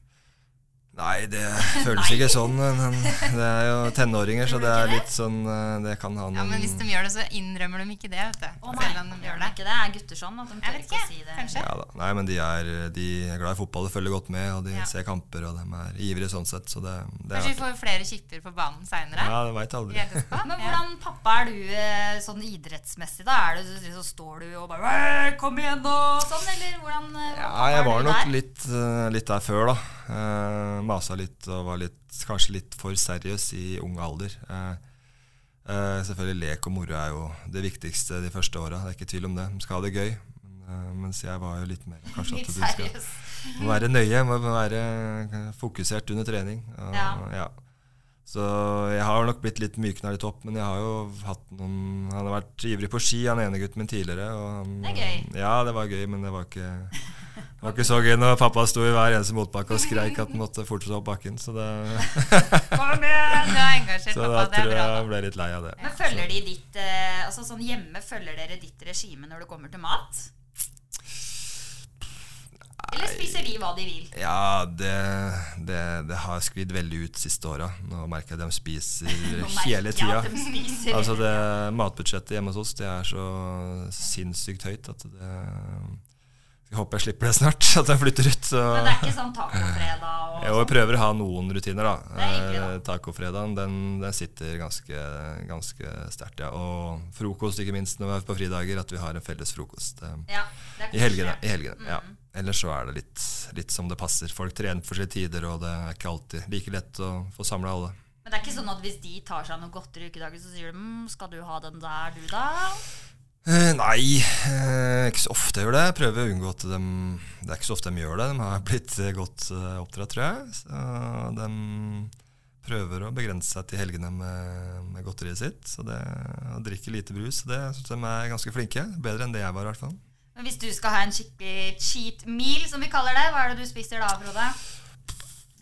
D: Nei, det føles ikke sånn. Men det er jo tenåringer, så det er litt sånn eh, Det kan ha noen
C: Ja, men hvis de gjør det, så innrømmer de ikke det, vet du.
E: Å nei,
C: Selv om de gjør det.
E: ikke det? Er gutter sånn at de
C: Jeg
E: tør
C: vet
E: ikke
C: ikke,
E: å si det?
C: kanskje.
D: Ja da. Nei, men de er, de er glad i fotball og følger godt med, og de ser kamper, og de er ivrige sånn sett, så det, det er
C: Kanskje vi
D: artig.
C: får flere kipper på banen seinere?
D: Ja, du veit aldri.
E: Men hvordan pappa er du eh, sånn idrettsmessig, da? Er du, så står du og bare «Åh, 'Kom igjen, nå!' sånn, eller hvordan eh,
D: Ja,
E: pappa
D: jeg
E: er
D: var
E: du
D: nok
E: der?
D: litt, eh, litt der før, da. Eh, masa litt og var litt, kanskje litt for seriøs i ung alder. Eh, eh, selvfølgelig lek og moro er jo det viktigste de første åra, det er ikke tvil om det. De skal ha det gøy. Men, eh, mens jeg var jo litt mer kanskje at
E: Litt
D: du skal
E: seriøs.
D: må være nøye, må være fokusert under trening. Og,
E: Ja.
D: ja. Så jeg har nok blitt litt mykna litt opp, men jeg har jo hatt noen Han har vært ivrig på ski, han ene gutten min tidligere. Og han,
E: Det er
D: Ja, det var gøy, men det var ikke, det var ikke så gøy når pappa sto i hver eneste motbakke og skreik at han måtte fortsette opp bakken. Så, det,
C: Kom igjen! Du er engasjert,
D: så
C: pappa.
D: da
C: Det er
D: tror jeg
C: bra.
D: jeg ble litt lei av det.
E: Men følger de ditt eh, Altså sånn hjemme, følger dere ditt regime når det kommer til mat? Eller spiser de hva de vil?
D: Ja, det, det, det har skvidd veldig ut siste åra. Nå merker jeg at de spiser hele
E: jeg
D: tida.
E: at de spiser.
D: Altså det Matbudsjettet hjemme hos oss Det er så sinnssykt høyt at det skal Vi håper jeg slipper det snart, at jeg flytter ut. Så.
E: Men det er ikke sånn tacofredag og
D: Jo, jeg prøver å ha noen rutiner, da.
E: Det er hyggelig, da.
D: Eh, Tacofredagen den, den sitter ganske, ganske sterkt, ja. Og frokost, ikke minst, når vi er på fridager, at vi har en felles frokost. eh,
E: ja, det er
D: I helgene. I
E: koselig. Mm.
D: helgene ja. Ellers så er det litt, litt som det passer. Folk trener for sine tider, og det er ikke alltid like lett å få samla alle.
E: Men det er ikke sånn at hvis de tar seg noe godteri i ukedagen, så sier de mm, 'skal du ha den der, du da'?
D: Eh, nei, eh, ikke så ofte jeg gjør det. Jeg prøver å unngå at de Det er ikke så ofte de gjør det. De har blitt eh, godt eh, oppdratt, tror jeg. Så de prøver å begrense seg til helgene med, med godteriet sitt. Så det, og drikker lite brus. Så det syns de er ganske flinke. Bedre enn det jeg var, i hvert fall.
E: Men hvis du skal ha en skikkelig cheat meal, som vi kaller det, hva er det du spiser da, Frode?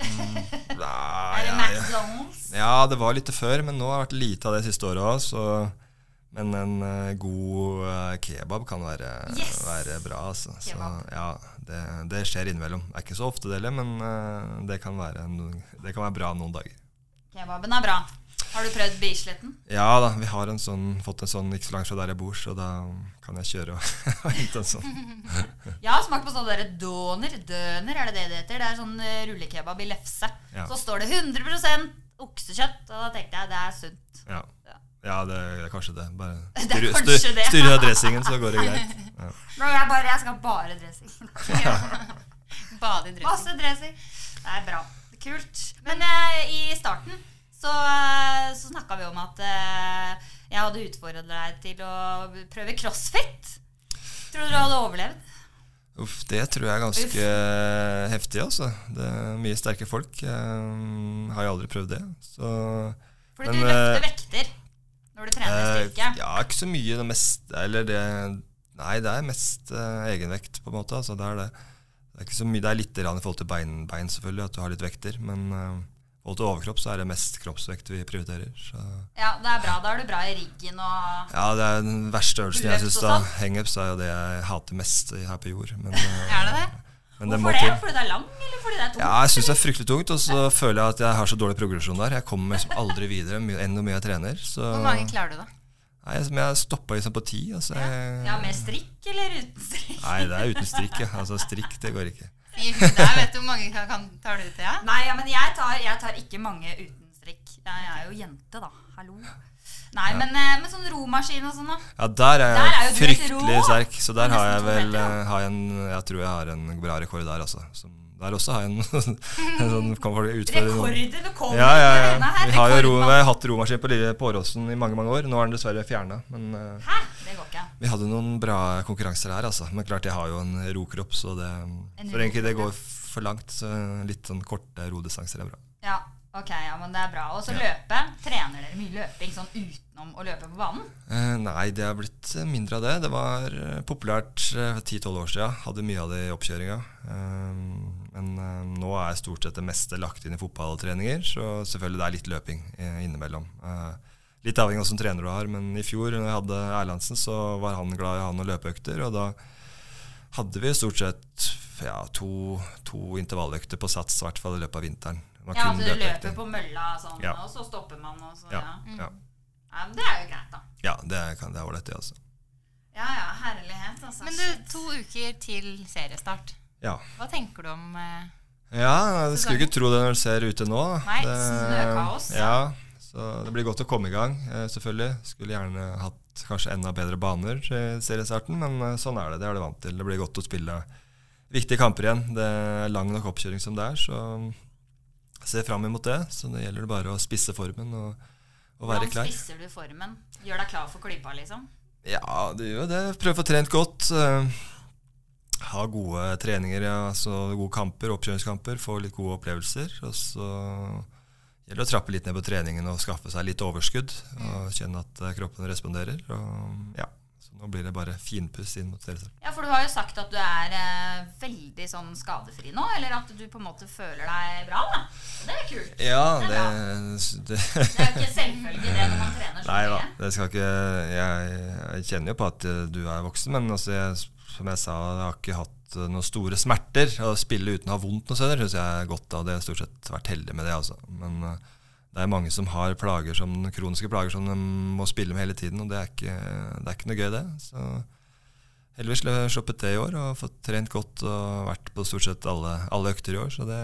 D: Nei,
E: Er det
D: jeg-
E: McDonald's?
D: Ja, det var lite før, men nå har det vært lite av det siste året òg, så Men en eh, god eh, kebab kan være,
E: Yes!
D: være bra, altså. Så,
E: Kebab.
D: ja, det, det skjer innimellom. Det er ikke så ofte det heller, men eh, det kan, være noen, det kan være bra noen dager.
E: Kebaben er bra. Har du prøvd Bisletten?
D: Ja da, vi har en sånn, fått en sånn ikke så langt fra der jeg bor, så da kan jeg kjøre og og hente en sånn.
E: Jeg har smakt på sånn derre doner, døner, er det det det heter? Det er sånn eh, rullekebab i lefse.
D: Ja.
E: Så står det 100 oksekjøtt, og da tenkte jeg det er sunt.
D: Ja, ja det, det er kanskje det. Bare
E: Det er
D: styr-
E: kanskje
D: styr-
E: det.
D: styr av dressingen, så går det greit. Ja.
E: Men jeg, bare, jeg skal bare dressing.
C: Bade i dressing.
E: Masse dressing. Det er bra. Kult. Men eh, i starten så, eh, så snakka vi om at eh, jeg hadde utfordra deg til å prøve crossfit. Tror du du hadde overlevd?
D: Uff, det tror jeg er ganske heftig, altså. Det er mye sterke folk. Eh, har jo aldri prøvd det. Så
E: Fordi
D: Men,
E: du løfter
D: eh,
E: vekter når du trener
D: eh,
E: styrke.
D: ja, ikke så mye. Det mest Eller det Nei, det er mest eh, egenvekt, på en måte. Altså, det er det. Det er ikke så mye Det er litt grann i forhold til bein, bein selvfølgelig, at du har litt vekter. Men eh, i forhold til overkropp så er det mest kroppsvekt vi prioriterer. Så.
E: Ja, det er bra. Da er du bra i riggen og
D: Ja, det er den verste øvelsen jeg
E: Pull-ups
D: syns
E: og
D: da.
E: sånn?
D: Hangups er jo det jeg hater mest her på jord. Men, eh,
C: Er det det?
D: men det må
E: Hvorfor det?
D: til.
E: Fordi det er lang, eller fordi det er tung?
D: Ja, jeg syns det er fryktelig tungt, og så føler jeg at jeg har så dårlig progresjon der. Jeg kommer liksom aldri videre my- enn hvor mye jeg trener. Så
C: Hvor mange klarer du, da?
D: Nei, jeg- men jeg stoppa liksom på ti. Altså, jeg,
E: Ja, med strikk eller uten strikk?
D: Nei, det er uten strikk. Ja. Altså, strikk, det går ikke.
C: I huet der, vet du hvor mange kan, kan, tar du til? Ja?
E: Nei, ja, men jeg tar, jeg tar ikke mange uten strikk. Jeg er jo jente, da. Hallo. Nei, men, eh, men sånn romaskin og sånn, da.
D: Ja, der er
E: Der er
D: jeg
E: jo du helt
D: fryktelig
E: rå.
D: sterk, så der
E: Nesten
D: har jeg
E: to
D: vel
E: meter, da.
D: eh, har jeg en, Jeg tror jeg har en bra rekord der, altså. Som, der også har jeg en, en sånn kan folk utfordre noen.
E: Rekorder du kommer
D: Ja, ja,
E: til denne
D: ja.
E: her.
D: Vi har jo ro,
E: rekordmann.
D: vi har hatt romaskin på Lille på Åråsen i mange mange år. Nå er den dessverre fjerna, men eh,
E: Hæ? Det går ikke.
D: Vi hadde noen bra konkurranser her, altså. Men klart jeg har jo en rokropp, så det, så det, egentlig, det går for langt. Så litt sånn korte rodistanser er bra.
E: Ja, ok, ja, men det er bra. Og så løpe. Trener dere mye løping sånn utenom å løpe på banen?
D: Eh, nei, det har blitt eh, mindre av det. Det var eh, populært eh, for 10-12 år siden. Hadde mye av det i oppkjøringa. Eh, men eh, nå er stort sett det meste lagt inn i fotballtreninger, så selvfølgelig det er litt løping eh, innimellom. Eh, litt avhengig av hvilken trener du har, men i fjor når jeg hadde Erlandsen, så var han glad i å ha noen løpeøkter. og da hadde vi stort sett ja, to, to intervalløkter på sats, i hvert fall i løpet av vinteren. Det var
E: Ja,
D: kun
E: at du løper
D: løpeøkter.
E: på mølla sånn,
D: Ja.
E: og så stopper man, og så
D: ja,
E: ja.
D: ja.
E: ja. men Det er jo greit, da.
D: ja, det kan det er ålreit, det, altså.
E: Ja ja, herlighet, altså.
C: Men du, to uker til seriestart.
D: Ja.
C: Hva tenker du om eh,
D: Ja, du skulle ikke tro det når du ser ute nå.
C: Nei,
D: det,
E: snøkaos.
D: Ja, så det blir godt å komme i gang, eh, selvfølgelig. Skulle gjerne hatt kanskje enda bedre baner i seriestarten, men eh, sånn er det. Det er du vant til. Det blir godt å spille viktige kamper igjen. Det er lang nok oppkjøring som det er, så jeg ser fram imot det. Så det gjelder det bare å spisse formen og, og være
E: Hvordan
D: klar.
E: spisser du formen? Gjør deg klar for klypa, liksom?
D: Ja, det gjør jo det. Prøve å få trent godt. eh, Ha gode treninger, ja, altså gode kamper, oppkjøringskamper. Få litt gode opplevelser. Og så gjelder det å trappe litt ned på treningen og skaffe seg litt overskudd. Og kjenne at eh, kroppen responderer. Og ja, så nå blir det bare finpuss inn mot seriestart.
E: Ja, for du har jo sagt at du er eh, veldig sånn skadefri nå, eller at du på en måte føler deg bra, da. Og det er kult.
D: Ja,
E: det
D: det, det
E: Det er jo ikke selvfølge det når man trener så
D: Nei da,
E: mye.
D: det skal ikke jeg, jeg kjenner jo på at eh, du er voksen, men altså jeg, som jeg sa, jeg har ikke hatt eh, noen store smerter. Å spille uten å ha vondt noe sted, syns jeg er godt av det. Jeg har stort sett vært heldig med det, altså. Men eh, det er mange som har plager som, kroniske plager som de må spille med hele tiden, og det er ikke, det er ikke noe gøy, det. Så Heldigvis sl- sluppet det i år og fått trent godt og vært på stort sett alle, alle økter i år, så det,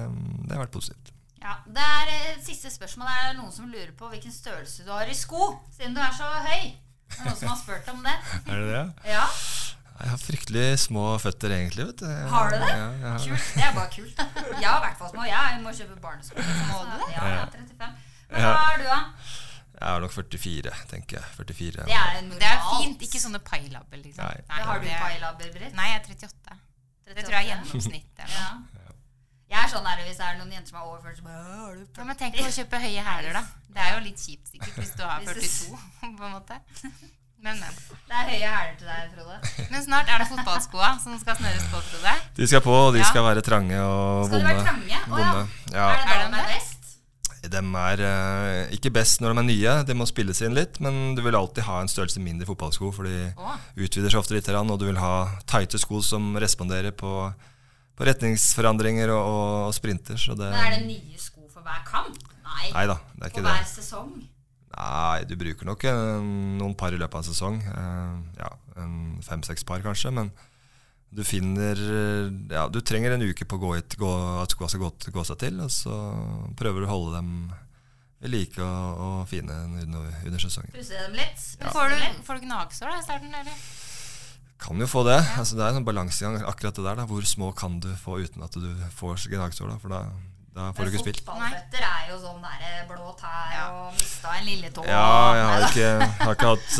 D: det har vært positivt.
E: Ja, det er eh, Siste spørsmål er det noen som lurer på hvilken størrelse du har i sko, siden du er så høy. Det er noen som har spurt om det.
D: Er det det?
E: Ja,
D: Jeg har fryktelig små føtter egentlig, vet du. Jeg-
E: Har du det?
D: Ja, jeg har
E: kult. Det er bare kult. Jeg har i hvert fall små. Jeg må kjøpe barnesko. Må du det? Ja, jeg er 35. Men hva
D: Ja.
E: er du, da?
D: Jeg er nok 44, tenker jeg. 44.
E: Det er normalt.
C: Det er fint. Ikke sånne pailabber, liksom.
D: Nei.
E: Har du
C: det-
E: pailabber, Britt?
C: Nei, jeg er 38. Det tror jeg er gjennomsnittet. eller noe.
E: Ja. Jeg er sånn der hvis det er noen jenter som er over 40, så bare «Å, har du
C: Ja, men tenk på å kjøpe høye hæler, da. Det er jo litt kjipt sikkert hvis du har
E: Hvis du-
C: 42, på en måte. Men, men.
E: Det er høye hæler til deg, Frode.
C: Men snart er det fotballskoa som skal snøres på, Frode.
D: De skal på, og de
C: Ja.
D: skal være trange og
E: Skal de være trange? Å ja.
D: Vonde. Ja.
E: Er det da
C: Er det
E: de er
C: det?
E: best?
D: De er eh, ikke best når de er nye, de må spilles inn litt, men du vil alltid ha en størrelse mindre fotballsko, for de
C: Å.
D: utvider seg ofte litt, grann, og du vil ha tighte sko som responderer på, på retningsforandringer og, og sprinter. Så det,
E: Men er det nye sko for hver kamp? Nei.
D: Nei da, det er
E: For
D: ikke det.
E: hver sesong?
D: Nei, du bruker nok eh, noen par i løpet av en sesong. Eh, ja, en Fem-seks par kanskje, men du finner eh, Ja, du trenger en uke på å gå hit, gå, at skoa skal gå, gå seg til, og så prøver du å holde dem ved like og, og fine under, under sesongen.
E: Pusse dem litt?
C: Men
E: pusse
C: får
E: dem
C: du,
E: litt.
C: får du gnagsår da i starten, eller?
D: Kan jo få det. altså Det er en sånn balansegang akkurat det der. da, Hvor små kan du få uten at du får gnagsår? da, For da, da får du ikke spilt.
E: Fotballføtter er jo sånn der blå tær og mista en lilletå.
D: Ja, jeg har
E: Neida.
D: ikke, har ikke hatt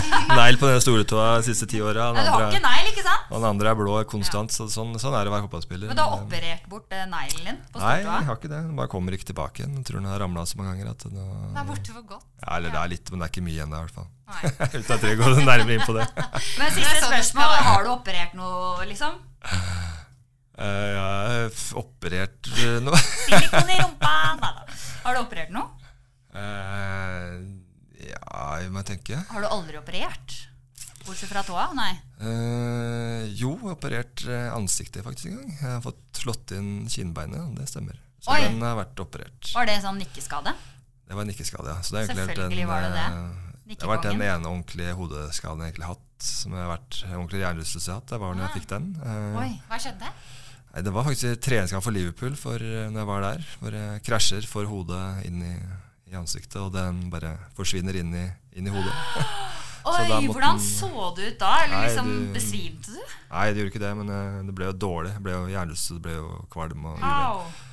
D: eh, negl på den store tåa de siste ti åra.
E: Nei, du har ikke negl, ikke sant?
D: Og den andre er blå konstant, så sånn, sånn er det å være fotballspiller.
E: Men du har operert bort eh, neglen din på
D: Nei, jeg
E: stortåa?
D: har ikke det. Den bare kommer ikke tilbake igjen. Jeg tror den har ramla så mange ganger at den
C: Den er
D: har
C: borte for godt.
D: ja, Eller det er litt, men det er ikke mye igjen, i hvert fall.
C: Nei.
D: Uten at jeg trenger å gå nærmere inn på det.
E: Men siste
C: sånn
E: spørsmål, har du operert noe, liksom?
D: Eh, jeg har f- operert eh, nå
E: Silikon i rumpa? Neida. Har du operert noe?
D: Eh, Ja, jeg må tenke.
E: Har du aldri operert? Bortsett fra tåa? Nei.
D: Eh, jo, jeg har operert eh, ansiktet faktisk en gang. Jeg har fått slått inn kinnbeinet, det stemmer. Så
E: Oi.
D: den har vært operert.
E: Var det en sånn nikkeskade?
D: Det var en nikkeskade, ja. Så det er egentlig vært
E: Selvfølgelig
D: den,
E: var det det.
D: eh, Det har vært den
E: Nikkekongen.
D: ene ordentlige hodeskaden jeg egentlig har hatt, som har vært en ordentlig hjernerystelse jeg har hatt. Det var når jeg fikk den. Eh,
E: Ah. Oi.
C: Hva skjedde?
D: Nei, det var faktisk i treningskamp for Liverpool for, eh, når jeg var der, hvor jeg krasjer for hodet inn i, i ansiktet, og den bare forsvinner inn i, inn i hodet.
E: Oi,
D: da måtte
E: hvordan
D: den-
E: så du ut da? Eller
D: Nei,
E: liksom
D: du-
E: besvimte du?
D: Nei, det gjorde ikke det, men eh, det ble jo dårlig. Det ble jo hjernerystelse, det ble jo kvalm og uvel.
E: Au.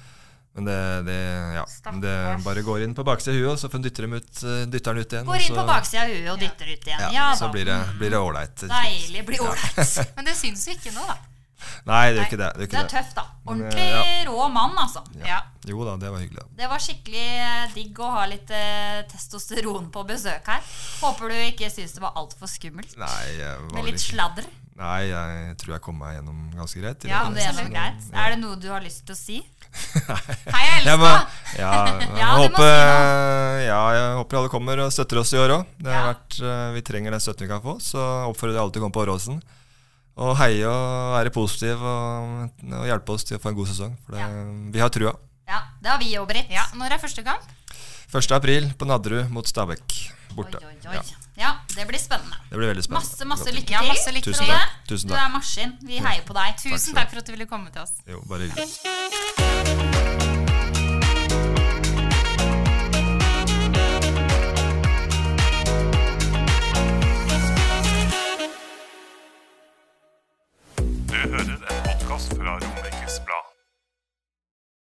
D: Men det, det, ja, det bare går inn på baksida av huet, og så får en dytter, dem ut, eh, dytter den ut igjen. og
E: Går inn på
D: så-
E: baksida av huet og dytter ut igjen.
D: Ja,
E: Ja
D: så
E: da.
D: blir det blir det ålreit. til slutt.
E: Deilig. Blir ålreit.
C: Men det syns jo ikke nå, da.
D: Nei, det gjør ikke det. det, gjør
E: Du
D: ikke
E: er
D: det.
E: tøff, da.
D: Men, eh,
E: Ordentlig rå mann, altså. Ja.
D: Jo da, det var hyggelig. da.
E: Det var skikkelig eh, digg å ha litt eh, testosteron på besøk her. Håper du ikke syns det var altfor skummelt.
D: Nei, jeg, var
E: Med
D: vel
E: litt
D: ikke-
E: sladder.
D: Nei, jeg tror jeg kom meg gjennom ganske greit. i
E: Ja,
D: løpet av
E: om det er noe
D: sesongen.
E: greit.
D: Ja.
E: Er det noe du har lyst til å si?
C: Hei,
D: Jeg må,
C: Elsa!
D: ja, jeg
E: Ja, du må si
D: håper,
E: noe.
D: ja, jeg håper alle kommer og støtter oss i år òg.
E: Ja.
D: eh, Vi trenger den støtten vi kan få, så oppfordrer jeg alle til å komme på Åråsen. Og heie og være positiv og, og hjelpe oss til å få en god sesong. For det, Vi har trua.
E: Ja, det har vi jo, Britt.
C: Ja, når er første kamp?
D: 1. april på Nadderud mot Stabæk borte.
E: Oi,
D: Ja,
E: oi, oi. ja, det blir spennende.
D: det blir veldig spennende.
E: Masse, masse lykke til.
C: Ja, masse lykke
E: Frode.
D: Tusen takk. Tusen
E: Du er
D: takk.
E: maskin. Vi heier på deg.
C: Tusen
D: skal du ha.
C: takk for at du ville komme til oss.
D: Jo, bare hyggelig.